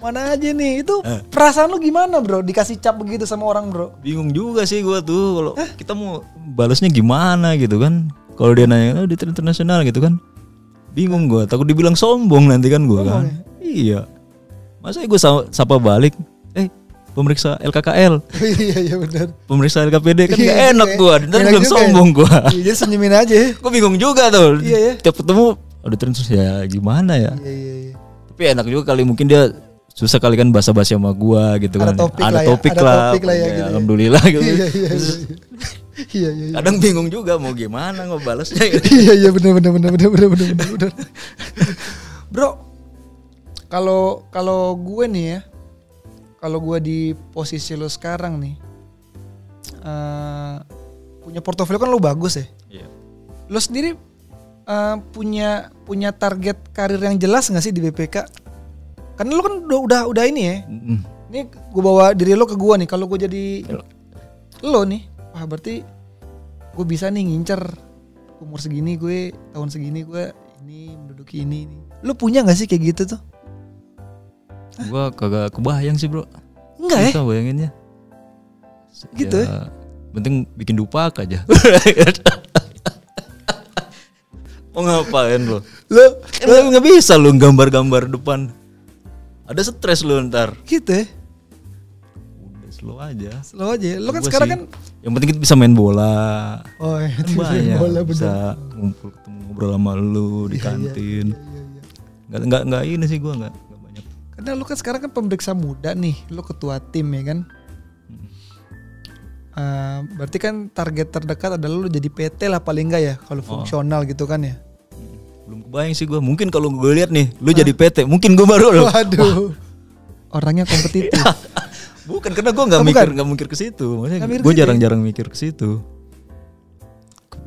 Speaker 2: mana aja nih itu
Speaker 3: Eh.
Speaker 2: perasaan lu gimana bro dikasih cap begitu sama orang bro
Speaker 3: bingung juga sih gua tuh kalau kita mau balasnya gimana gitu kan kalau dia nanya oh di internasional gitu kan bingung gua takut dibilang sombong nanti kan gua kan
Speaker 2: ya?
Speaker 3: iya masa gue sapa balik eh pemeriksa LKKL
Speaker 2: iya iya benar
Speaker 3: pemeriksa LKPD kan
Speaker 2: Iya,
Speaker 3: gak
Speaker 2: iya,
Speaker 3: enak
Speaker 2: iya.
Speaker 3: gua nanti
Speaker 2: Enak
Speaker 3: bilang
Speaker 2: juga ya.
Speaker 3: sombong gua
Speaker 2: iya jadi senyumin aja ya
Speaker 3: gua bingung juga tuh
Speaker 2: Iya, iya.
Speaker 3: tiap ketemu ada internasional ya gimana ya
Speaker 2: iya iya iya
Speaker 3: tapi enak juga kali mungkin dia susah kali kan basa-basi sama gua gitu
Speaker 2: Ada
Speaker 3: kan
Speaker 2: topik
Speaker 3: ada
Speaker 2: lah ya,
Speaker 3: topik
Speaker 2: ada
Speaker 3: lah,
Speaker 2: topik lah ya,
Speaker 3: Oke,
Speaker 2: gitu ya.
Speaker 3: alhamdulillah gitu
Speaker 2: iya iya iya. iya iya iya.
Speaker 3: kadang bingung juga mau gimana ngebalesnya gitu.
Speaker 2: iya iya benar benar benar benar benar benar benar benar. bro kalau kalau gue nih ya kalau gue di posisi lo sekarang nih eh, punya portofolio kan lo bagus ya lo sendiri eh, punya punya target karir yang jelas nggak sih di BPK karena lo kan udah udah, udah ini ya
Speaker 3: Mm.
Speaker 2: ini gue bawa diri lo ke gue nih kalau gue jadi lo nih wah berarti gue bisa nih ngincer umur segini gue tahun segini gue ini menduduki ini ini lo punya nggak sih kayak gitu tuh
Speaker 3: gua kagak kebayang sih bro
Speaker 2: enggak ya
Speaker 3: susah bayanginnya
Speaker 2: Gitu
Speaker 3: ya, penting bikin dupak aja mau ngapain lo
Speaker 2: lo
Speaker 3: kan nggak- nggak bisa lo gambar-gambar depan ada stres lo ntar
Speaker 2: gitu ya
Speaker 3: udah slow aja
Speaker 2: slow aja lo kan
Speaker 3: Gua
Speaker 2: sekarang
Speaker 3: sih,
Speaker 2: kan
Speaker 3: yang penting kita bisa main bola
Speaker 2: oh iya,
Speaker 3: Kan
Speaker 2: tiup
Speaker 3: banyak
Speaker 2: bola bener.
Speaker 3: bisa ngumpul ketemu ngobrol sama lu di kantin
Speaker 2: Iya, iya.
Speaker 3: nggak nggak nggak ini sih gua nggak nggak banyak
Speaker 2: karena lo kan sekarang kan pemeriksa muda nih lo ketua tim ya kan
Speaker 3: Hmm.
Speaker 2: Eh, berarti kan target terdekat adalah lo jadi PT lah paling enggak ya kalau
Speaker 3: Oh.
Speaker 2: fungsional gitu kan ya
Speaker 3: belum kebayang sih gua mungkin kalau gue lihat nih lu jadi PT mungkin gua baru lo
Speaker 2: Waduh. Orangnya kompetitif.
Speaker 3: bukan karena gua
Speaker 2: Oh,
Speaker 3: nggak mikir
Speaker 2: bukan.
Speaker 3: nggak mikir ke situ maksudnya
Speaker 2: Nggak mikir ke
Speaker 3: gue
Speaker 2: situ ya?
Speaker 3: jarang-jarang mikir ke situ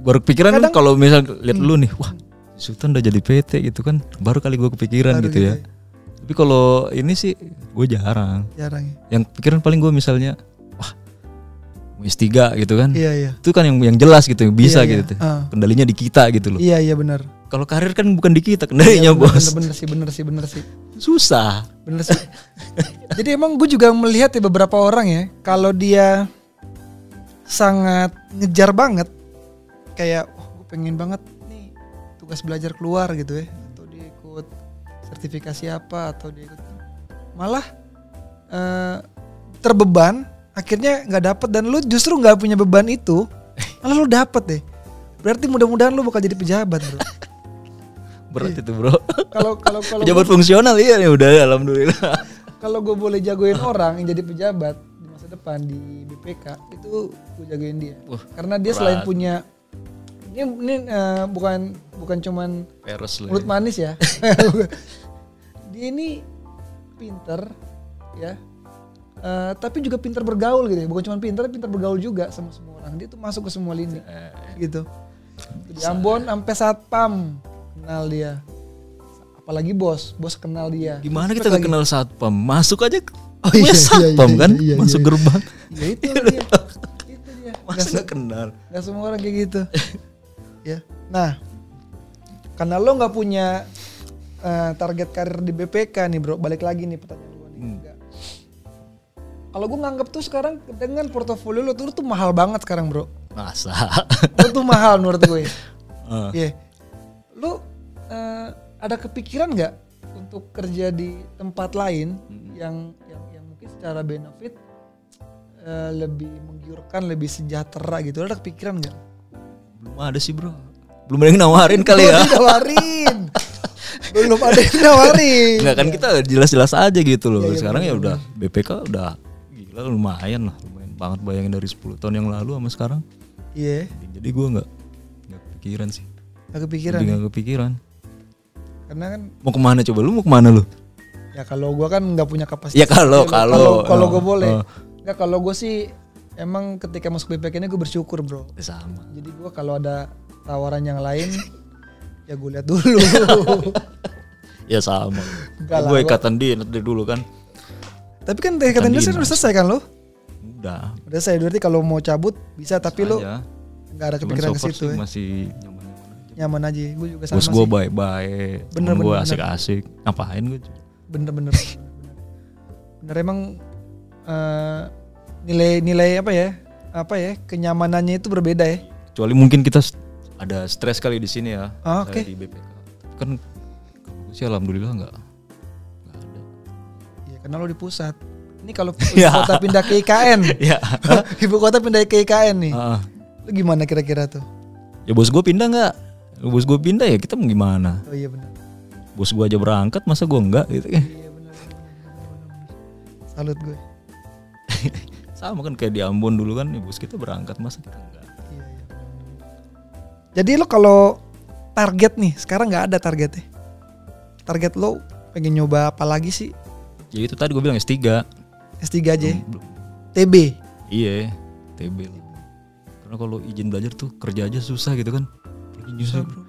Speaker 3: baru kepikiran kan
Speaker 2: Kadang- Hmm.
Speaker 3: kalau misal lihat lu nih wah Sultan udah jadi PT gitu kan baru kali gua kepikiran
Speaker 2: Baru
Speaker 3: gitu
Speaker 2: gitu
Speaker 3: ya tapi kalau ini sih gue jarang
Speaker 2: Jarang ya.
Speaker 3: yang pikiran paling gua misalnya wah mau S3 gitu kan
Speaker 2: Iya iya.
Speaker 3: itu kan yang yang jelas gitu yang bisa
Speaker 2: Iya, iya.
Speaker 3: gitu
Speaker 2: Ah.
Speaker 3: kendalinya di kita gitu loh
Speaker 2: Iya iya benar.
Speaker 3: kalau karir kan bukan di kita kendalinya bos
Speaker 2: Bener, bener sih bener sih bener sih.
Speaker 3: susah
Speaker 2: Bener sih. Jadi emang gue juga melihat ya beberapa orang ya kalau dia sangat ngejar banget kayak wah gue pengen banget nih tugas belajar keluar gitu ya atau dia ikut sertifikasi apa atau dia ikut malah eh, terbeban akhirnya nggak dapet dan lu justru nggak punya beban itu malah lu dapet deh berarti mudah-mudahan lu bakal jadi pejabat bro
Speaker 3: berat itu bro
Speaker 2: kalau kalau kalau
Speaker 3: pejabat fungsional iya ya udah alhamdulillah
Speaker 2: kalau gue boleh jagoin orang yang jadi pejabat di masa depan di BPK itu gue jagoin dia
Speaker 3: Wah,
Speaker 2: karena dia selain punya ini ini eh, bukan bukan cuman
Speaker 3: peres lah
Speaker 2: mulut manis ya dia ini pinter ya Eh, tapi juga pinter bergaul gitu ya bukan cuma pinter tapi pinter bergaul juga sama semua orang dia tuh masuk ke semua lini
Speaker 3: Eh,
Speaker 2: gitu di Ambon sampai satpam kenal dia apalagi bos bos kenal dia
Speaker 3: gimana
Speaker 2: Terus
Speaker 3: kita nggak kenal satpam masuk aja Oh iya, satpam
Speaker 4: iya,
Speaker 3: kan
Speaker 4: iya, iya,
Speaker 3: masuk
Speaker 4: iya.
Speaker 3: gerbang.
Speaker 2: ya itu dia itu dia
Speaker 3: Masa nggak kenal?
Speaker 2: Gak semua orang kayak gitu. ya. Nah, karena lo nggak punya eh, target karir di BPK nih bro, balik lagi nih pertanyaan gue nih.
Speaker 3: Hmm.
Speaker 2: Nggak. Kalau gue nganggap tuh sekarang dengan portofolio lo tuh, tuh mahal banget sekarang bro.
Speaker 3: Masa?
Speaker 2: Lo tuh mahal menurut gue.
Speaker 3: Eh,
Speaker 2: Iya. Lo eh, ada kepikiran nggak untuk kerja di tempat lain yang, yang yang mungkin secara benefit eh, lebih menggiurkan, lebih sejahtera gitu. Lo ada kepikiran nggak?
Speaker 3: belum ada sih bro. Belum ada yang nawarin
Speaker 2: Belum
Speaker 3: kali ya.
Speaker 2: ditawarin. Belum ada yang nawarin.
Speaker 3: Enggak kan kita jelas-jelas aja gitu loh.
Speaker 2: Iya, iya,
Speaker 3: Sekarang ya udah BPK udah gila lumayan lah, lumayan banget bayangin dari 10 tahun yang lalu sama sekarang.
Speaker 2: Iya,
Speaker 3: Jadi gua nggak nggak kepikiran sih.
Speaker 2: nggak kepikiran. ya?
Speaker 3: Lebih nggak kepikiran.
Speaker 2: Karena kan
Speaker 3: Mau kemana coba lu mau kemana lu?
Speaker 2: ya kalau gua kan nggak punya kapasitas.
Speaker 3: Ya kalau- kalau-
Speaker 2: kalau gua
Speaker 3: oh,
Speaker 2: boleh.
Speaker 3: oh.
Speaker 2: Nggak kalau gua sih emang ketika masuk BPK ini gue bersyukur, Bro.
Speaker 3: Ya sama.
Speaker 2: Jadi gua kalau ada tawaran yang lain ya gue lihat dulu.
Speaker 3: Ya sama.
Speaker 2: Enggak lah,
Speaker 3: Gue
Speaker 2: gua-
Speaker 3: ikatan dinas dari dulu kan.
Speaker 2: tapi kan TKT Indonesia udah selesai kan lo?
Speaker 3: Udah.
Speaker 2: Udah selesai berarti kalau mau cabut bisa tapi lo
Speaker 3: aja.
Speaker 2: nggak ada
Speaker 3: Cuman
Speaker 2: kepikiran
Speaker 3: so
Speaker 2: ke
Speaker 3: far
Speaker 2: situ
Speaker 3: sih
Speaker 2: ya.
Speaker 3: masih nyaman-nyaman aja.
Speaker 2: Nyaman aja. Gue juga sama
Speaker 3: Bos
Speaker 2: sih.
Speaker 3: gue baik-baik,
Speaker 2: Bener,
Speaker 3: temen gue
Speaker 2: bener, bener.
Speaker 3: asik-asik. Ngapain gue?
Speaker 2: bener bener bener emang eh, nilai nilai apa ya apa ya kenyamanannya itu berbeda ya
Speaker 3: Kecuali mungkin kita st- ada stres kali di sini ya.
Speaker 2: Ah,
Speaker 3: saya
Speaker 2: oke.
Speaker 3: Di BPK. Tapi Kan kalau gua sih alhamdulillah nggak nggak ada.
Speaker 2: ya karena lo di pusat ini kalau ibu kota pindah ke IKN
Speaker 3: Ya.
Speaker 2: ibu kota pindah ke IKN nih
Speaker 3: Ah.
Speaker 2: lo gimana kira-kira tuh
Speaker 3: ya bos gue pindah nggak? Lu Bos gue pindah ya kita mau gimana?
Speaker 2: oh iya benar
Speaker 3: Bos gue aja berangkat masa gue enggak gitu kan?
Speaker 2: salut gue
Speaker 3: Sama kan kayak di Ambon dulu kan, ya bos kita berangkat masa kita enggak?
Speaker 2: Iya, iya. jadi lo kalau target nih sekarang nggak ada targetnya target lo pengen nyoba apa lagi sih
Speaker 3: Ya itu tadi gue bilang S3.
Speaker 2: S3 aja ya?
Speaker 3: Belum.
Speaker 2: TB
Speaker 3: Iya, TB lah. Karena kalau izin belajar tuh kerja aja susah gitu kan. Pergi nyusah bro.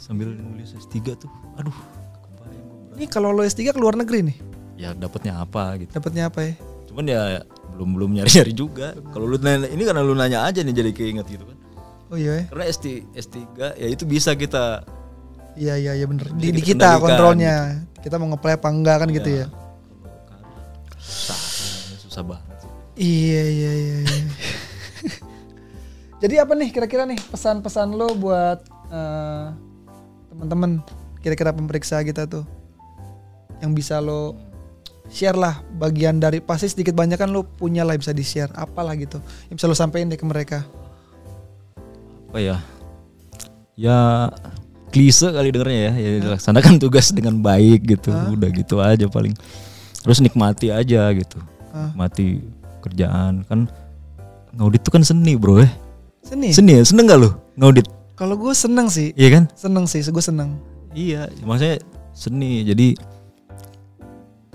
Speaker 3: Sambil nulis S3 tuh, aduh. kebayang gua berat.
Speaker 2: ini kalau lo S3 ke luar negeri nih
Speaker 3: Ya dapatnya apa gitu.
Speaker 2: dapatnya apa ya
Speaker 3: Cuman ya belum belum nyari nyari juga. Kalau lu nanya, ini karena lu nanya aja nih jadi keinget gitu kan.
Speaker 2: Oh iya, ya?
Speaker 3: Karena S3, S3 ya itu bisa kita
Speaker 2: iya iya iya bener. Di,
Speaker 3: Jadi
Speaker 2: di
Speaker 3: kita
Speaker 2: kita
Speaker 3: kendalikan Iya.
Speaker 2: kontrolnya, kita mau ngeplay apa enggak kan gitu ya?
Speaker 3: kalau karir, susah, susah banget. sih.
Speaker 2: Iya iya iya. iya. Jadi apa nih kira-kira nih pesan-pesan lo buat eh, teman-teman kira-kira pemeriksa kita tuh yang bisa lo share lah bagian dari pasti sedikit banyak kan lo punya lah bisa di share apalah gitu yang bisa lo sampein deh ke mereka.
Speaker 3: Apa ya? Ya klise kali dengernya ya, ya dilaksanakan tugas dengan baik gitu. Udah gitu aja paling. Terus nikmati aja gitu. Nikmati kerjaan kan ngaudit tuh kan seni, Bro ya.
Speaker 2: Seni.
Speaker 3: Seni ya, seneng gak lu ngaudit?
Speaker 2: Kalau gue seneng sih,
Speaker 3: Iya kan?
Speaker 2: seneng sih, gue seneng.
Speaker 3: Iya, maksudnya seni. Jadi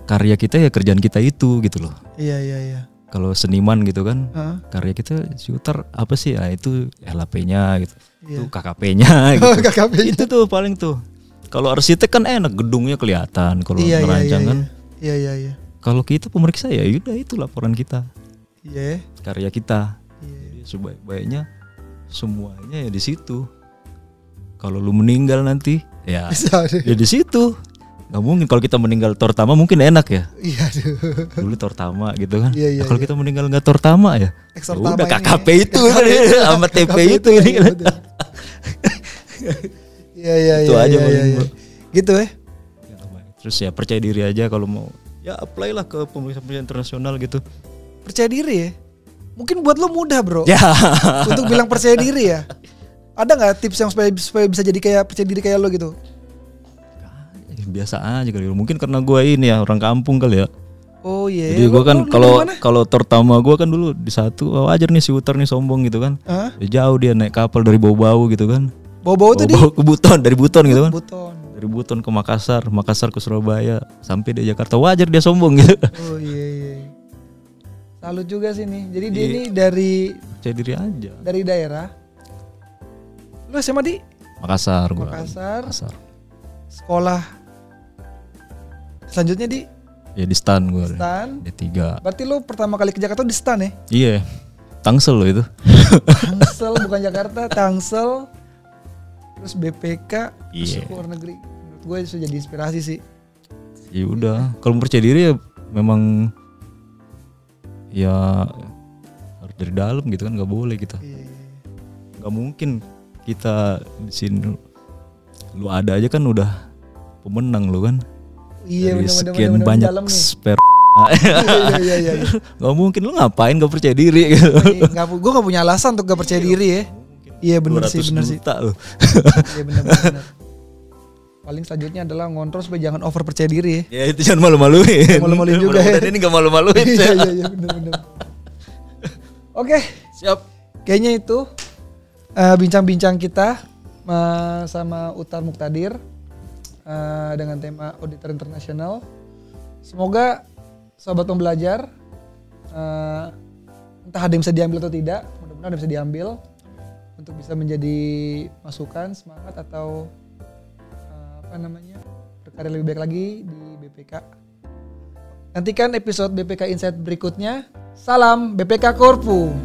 Speaker 3: karya kita ya kerjaan kita itu gitu loh.
Speaker 2: Iya iya iya.
Speaker 3: Kalau seniman gitu kan,
Speaker 2: Heeh.
Speaker 3: karya kita shooter apa sih? Ah itu LHP-nya gitu.
Speaker 2: Iya. Oh,
Speaker 3: Itu KKP-nya gitu.
Speaker 2: KKP.
Speaker 3: itu tuh paling tuh. Kalau arsitek kan enak gedungnya kelihatan, kalau
Speaker 2: Iya iya iya.
Speaker 3: ngerancang
Speaker 2: iya.
Speaker 3: kan.
Speaker 2: Iya iya iya.
Speaker 3: Kalau kita pemeriksa ya udah itu laporan kita,
Speaker 2: Iya. ya.
Speaker 3: karya kita.
Speaker 2: Iya.
Speaker 3: Jadi sebaik-baiknya semuanya ya di situ. Kalau lu meninggal nanti ya
Speaker 2: Bisa deh.
Speaker 3: ya di situ. Gak mungkin kalau kita meninggal tertama mungkin enak ya.
Speaker 2: Iya aduh.
Speaker 3: Dulu tertama gitu kan.
Speaker 2: Iya, iya,
Speaker 3: Nah, kalau kita meninggal nggak tertama ya. ya
Speaker 2: Eksortama
Speaker 3: udah
Speaker 2: ini.
Speaker 3: KKP itu kan. sama TP itu ini. kan.
Speaker 2: Iya, betul. Iya iya iya.
Speaker 3: Itu aja
Speaker 2: iya,
Speaker 3: paling,
Speaker 2: iya, iya.
Speaker 3: Bro.
Speaker 2: Gitu ya.
Speaker 3: Ya, baik. Terus ya percaya diri aja kalau mau ya apply lah ke pemeriksa-pemeriksa internasional gitu.
Speaker 2: Percaya diri ya. Mungkin buat lo mudah bro.
Speaker 3: Ya.
Speaker 2: Untuk bilang percaya diri ya. Ada nggak tips yang supaya, supaya bisa jadi kayak percaya diri kayak lo gitu?
Speaker 3: Ya, Biasa aja kali. Mungkin karena gua ini ya orang kampung kali ya.
Speaker 2: Oh iya.
Speaker 3: Jadi
Speaker 2: Lo-
Speaker 3: gua kan
Speaker 2: lo- lo
Speaker 3: kalau
Speaker 2: dari mana?
Speaker 3: kalau tertama gua kan dulu di satu oh, wajar nih si Uter nih sombong gitu kan.
Speaker 2: Hah?
Speaker 3: Ya, jauh dia naik kapal dari bau-bau gitu kan.
Speaker 2: Bawa-bawa tuh di
Speaker 3: Bau-bau ke Buton dari Buton gitu kan.
Speaker 2: buton.
Speaker 3: Dari Buton ke Makassar, Makassar ke Surabaya, sampai di Jakarta wajar dia sombong gitu.
Speaker 2: Oh iya iya. Salut juga sih nih. Jadi
Speaker 3: Iya.
Speaker 2: dia ini dari
Speaker 3: Percaya diri aja.
Speaker 2: dari daerah. Lo SMA di
Speaker 3: Makassar gua.
Speaker 2: Makassar.
Speaker 3: Makassar.
Speaker 2: sekolah selanjutnya di
Speaker 3: Ya di stan gue.
Speaker 2: Stan.
Speaker 3: D3.
Speaker 2: Berarti lu pertama kali ke Jakarta di stan ya?
Speaker 3: Iya. Tangsel loh itu.
Speaker 2: Tangsel bukan Jakarta, Tangsel. Terus BPK, terus
Speaker 3: Iya.
Speaker 2: luar negeri. Menurut gue itu jadi inspirasi sih.
Speaker 3: ya udah, kalau percaya diri ya memang ya harus dari dalam gitu kan nggak boleh kita.
Speaker 2: Iya.
Speaker 3: nggak mungkin kita di sini lu ada aja kan udah pemenang lu kan
Speaker 2: Iya,
Speaker 3: dari
Speaker 2: bener-bener,
Speaker 3: sekian
Speaker 2: bener-bener
Speaker 3: banyak
Speaker 2: dalam nih.
Speaker 3: spare
Speaker 2: Iya, iya, iya, iya.
Speaker 3: nggak mungkin lu ngapain gak percaya diri gitu
Speaker 2: gue gak punya alasan untuk gak percaya diri ya. Iya bener sih,
Speaker 3: 200
Speaker 2: bener sih.
Speaker 3: juta lu
Speaker 2: Iya bener, bener, bener. Paling selanjutnya adalah ngontrol supaya jangan over percaya diri ya.
Speaker 3: ya itu jangan malu-maluin
Speaker 2: Jangan malu-maluin juga ya.
Speaker 3: Mudah-mudahan ini gak malu-maluin
Speaker 2: Iya,
Speaker 3: Cel.
Speaker 2: iya, iya, bener, bener. Oke,
Speaker 3: siap
Speaker 2: kayaknya itu eh, bincang-bincang kita eh, sama Utar Muktadir eh, dengan tema auditor internasional. Semoga sobat pembelajar eh, entah ada yang bisa diambil atau tidak, mudah-mudahan ada yang bisa diambil untuk bisa menjadi masukan, semangat atau eh, apa namanya berkarya lebih baik lagi di BPK. Nantikan episode BPK Insight berikutnya. Salam BPK Korpu.